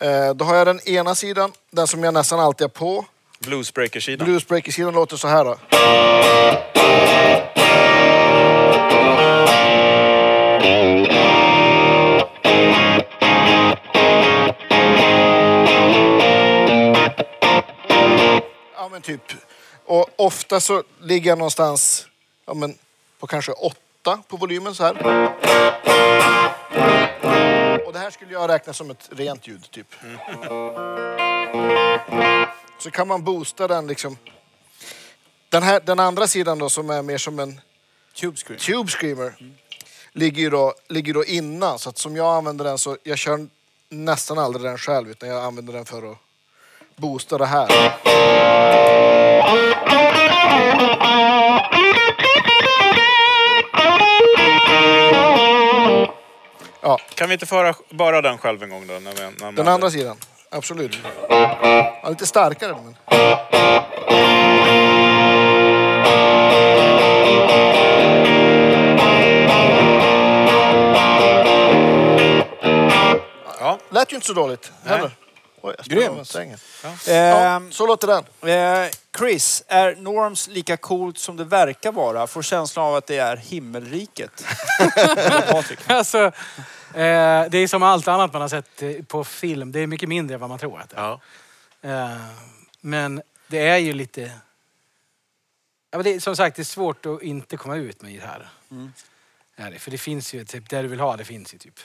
S2: eh, då har jag den ena sidan, den som jag nästan alltid är på.
S3: Bluesbreaker-sidan.
S2: Bluesbreaker-sidan låter så här då. Ja men typ. Och ofta så ligger jag någonstans ja, men, på kanske åtta på volymen så här. Och det här skulle jag räkna som ett rent ljud typ. Så kan man boosta den liksom. Den, här, den andra sidan då som är mer som en
S5: Tube Scream.
S2: Tube Screamer ligger, ju då, ligger då innan. Så att som jag använder den så jag kör nästan aldrig den själv utan jag använder den för att boosta det här. Ja,
S3: Kan vi inte föra bara den själv en gång då? När vi, när man-
S2: den andra sidan. Absolut. Ja, lite starkare men.
S3: Ja.
S2: Lät ju inte så dåligt heller. Oj, jag spelade
S5: Grymt.
S2: med sängen. Ja,
S5: Ehm,
S2: så låter den.
S5: eh, Chris, är Norms lika coolt som det verkar vara? Får känslan av att det är himmelriket. Patrik.
S4: Alltså, eh, det är som allt annat man har sett eh, på film. Det är mycket mindre än vad man tror att det är.
S3: Ja.
S4: Eh, men det är ju lite... Ja, men det, är- som sagt, det är svårt att inte komma ut med gitarr. Är det, för det finns ju, typ, det du vill ha, det finns ju typ.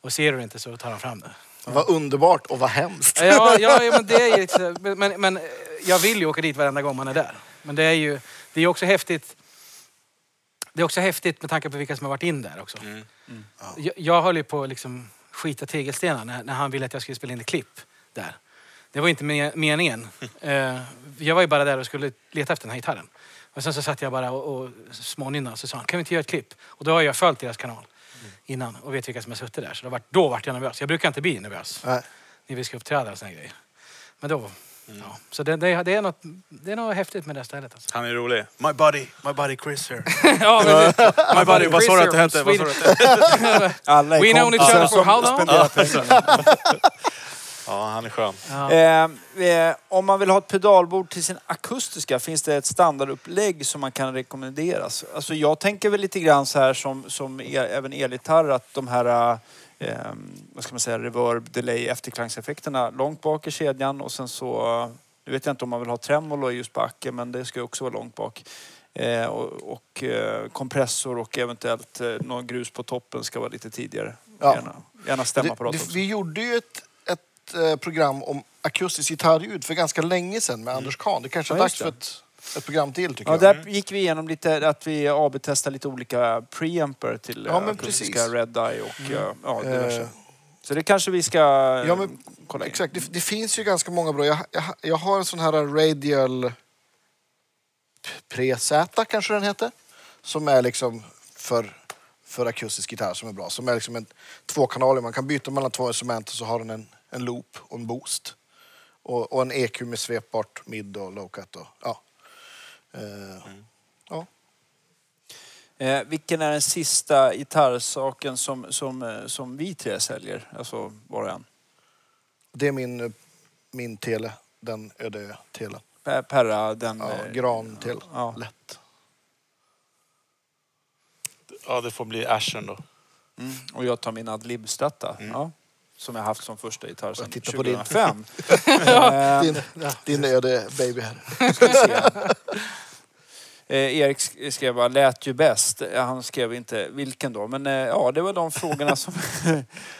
S4: Och ser du det inte så tar han fram det.
S2: Vad underbart och vad hemskt.
S4: Ja, ja, ja men det är ju... lite så- Men, men, men jag vill ju åka dit varenda gång man är där. Men det är ju det är också häftigt. Det är också häftigt med tanke på vilka som har varit in där också. Jag, jag höll ju på att liksom skita tegelstenar när, när han ville att jag skulle spela in ett klipp där. Det var ju inte me- meningen. Eh, jag var ju bara där och skulle leta efter den här gitarren. Och sen så satt jag bara och, och smånynnade och så sa han, kan vi inte göra ett klipp? Och då har jag följt deras kanal innan och vet vilka som har suttit där. Så då vart, då vart jag nervös. Jag brukar inte bli nervös
S2: Nej.
S4: när vi ska uppträda och såna här grejer. Men då...
S3: Mm.
S4: Ja. Så det, det, det, är något, det är något häftigt med det här stället. Alltså.
S3: Han är rolig. My buddy, my buddy Chris here.
S4: ja, men,
S3: My buddy, vad sa du att det hette? Vad sa du att det hette?
S5: Alla är
S4: We known each
S5: kompisar
S4: other for
S5: som
S4: how long?
S5: spenderar
S3: Ja, han är skön.
S5: Eh, eh, om man vill ha ett pedalbord till sin akustiska, finns det ett standardupplägg som man kan rekommenderas? Alltså jag tänker väl lite grann så här som, som e- även elgitarr, att de här eh, vad ska man säga, reverb, delay, efterklangseffekterna långt bak i kedjan och sen så, nu vet jag inte om man vill ha tremolo just på acken, men det ska ju också vara långt bak. Eh, och, och eh, kompressor och eventuellt eh, någon grus på toppen ska vara lite tidigare.
S2: Ja.
S5: Gärna, gärna stämma på
S2: Det,
S5: något
S2: det,
S5: också.
S2: vi gjorde ju ett, ett eh, program om akustiskt gitarrljud för ganska länge sedan med Anders Kahn. Det kanske
S5: Mm.
S2: är
S5: Ja,
S2: dags
S5: just
S2: för ett, ett program till tycker
S5: Ja,
S2: jag.
S5: där gick vi igenom lite att vi AB-testar lite olika preamper till
S2: Ja,
S5: ja,
S2: men
S5: akustiska
S2: precis.
S5: Red Eye och eh, ja, diverse.
S2: Eh.
S5: Så det kanske vi ska
S2: Ja,
S5: ja,
S2: men-
S5: kolla in.
S2: Exakt, det, det finns ju ganska många bra. Jag, jag, jag har en sån här radial presäta kanske den heter. Som är liksom för, för akustisk gitarr som är bra. Som är liksom en tvåkanalig. Man kan byta mellan två instrument och så har den en, en loop och en boost. Och, och en EQ med svepbart mid och low cut. Och, ja. Eh, ja.
S5: Eh, vilken är den sista gitarrsaken som, som, eh, som vi tre säljer? Alltså var och en.
S2: Det är min, eh, min tele. Den öde ö, telen.
S5: Per- Perra, den...
S2: Ja,
S5: eh,
S2: gran till.
S5: ja.
S2: Lätt.
S3: Ja, det får bli Ashen då.
S5: Mm. Och jag tar min adlib stratta. Ja. Som jag haft som första gitarr sedan
S2: Jag tittar på din.
S5: 2005.
S2: Din, din öde baby här.
S5: Eh, Erik sk- skrev bara, lät ju bäst. Eh, Han skrev inte vilken då. Men eh, ja, det var de frågorna som,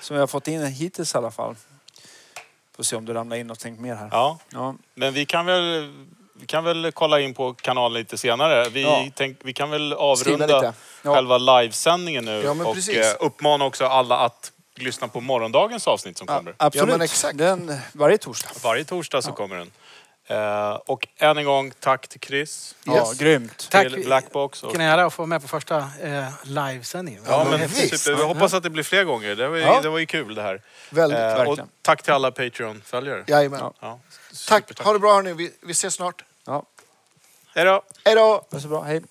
S5: som jag har fått in hittills i alla fall. Får Får se om det ramlar in någonting mer här.
S3: Ja,
S5: Ja.
S3: men vi kan väl... Vi kan väl kolla in på kanalen lite senare. Vi,
S5: Ja.
S3: tänk, vi kan väl
S2: Skriva
S3: avrunda
S2: lite.
S5: Ja.
S3: själva livesändningen nu
S2: Ja, men
S3: och
S2: precis.
S3: eh, uppmana också alla att lyssna på morgondagens avsnitt som kommer.
S5: Absolut.
S2: Ja, men exakt.
S5: Den, varje torsdag.
S3: Varje torsdag så kommer den. Eh, och än en gång, tack till Chris,
S5: Ja,
S2: Yes.
S5: grymt.
S4: Tack.
S3: till Blackbox. Och,
S4: Vilken ära att få vara med på första eh, livesändningen.
S3: ja, men
S2: Visst.
S3: super. Vi hoppas att det blir fler gånger. Det var ju,
S5: Ja.
S3: det var ju kul det här.
S2: Väldigt.
S3: Eh, och
S5: Verkligen.
S3: tack till alla Patreon-följare.
S2: Jajamän.
S5: Ja.
S3: Ja,
S2: Tack.
S3: supertack.
S2: Ha det bra hörni. Vi, vi ses snart.
S5: Ja,
S3: Hej då!
S2: Hej då!
S5: det var så bra. Hej.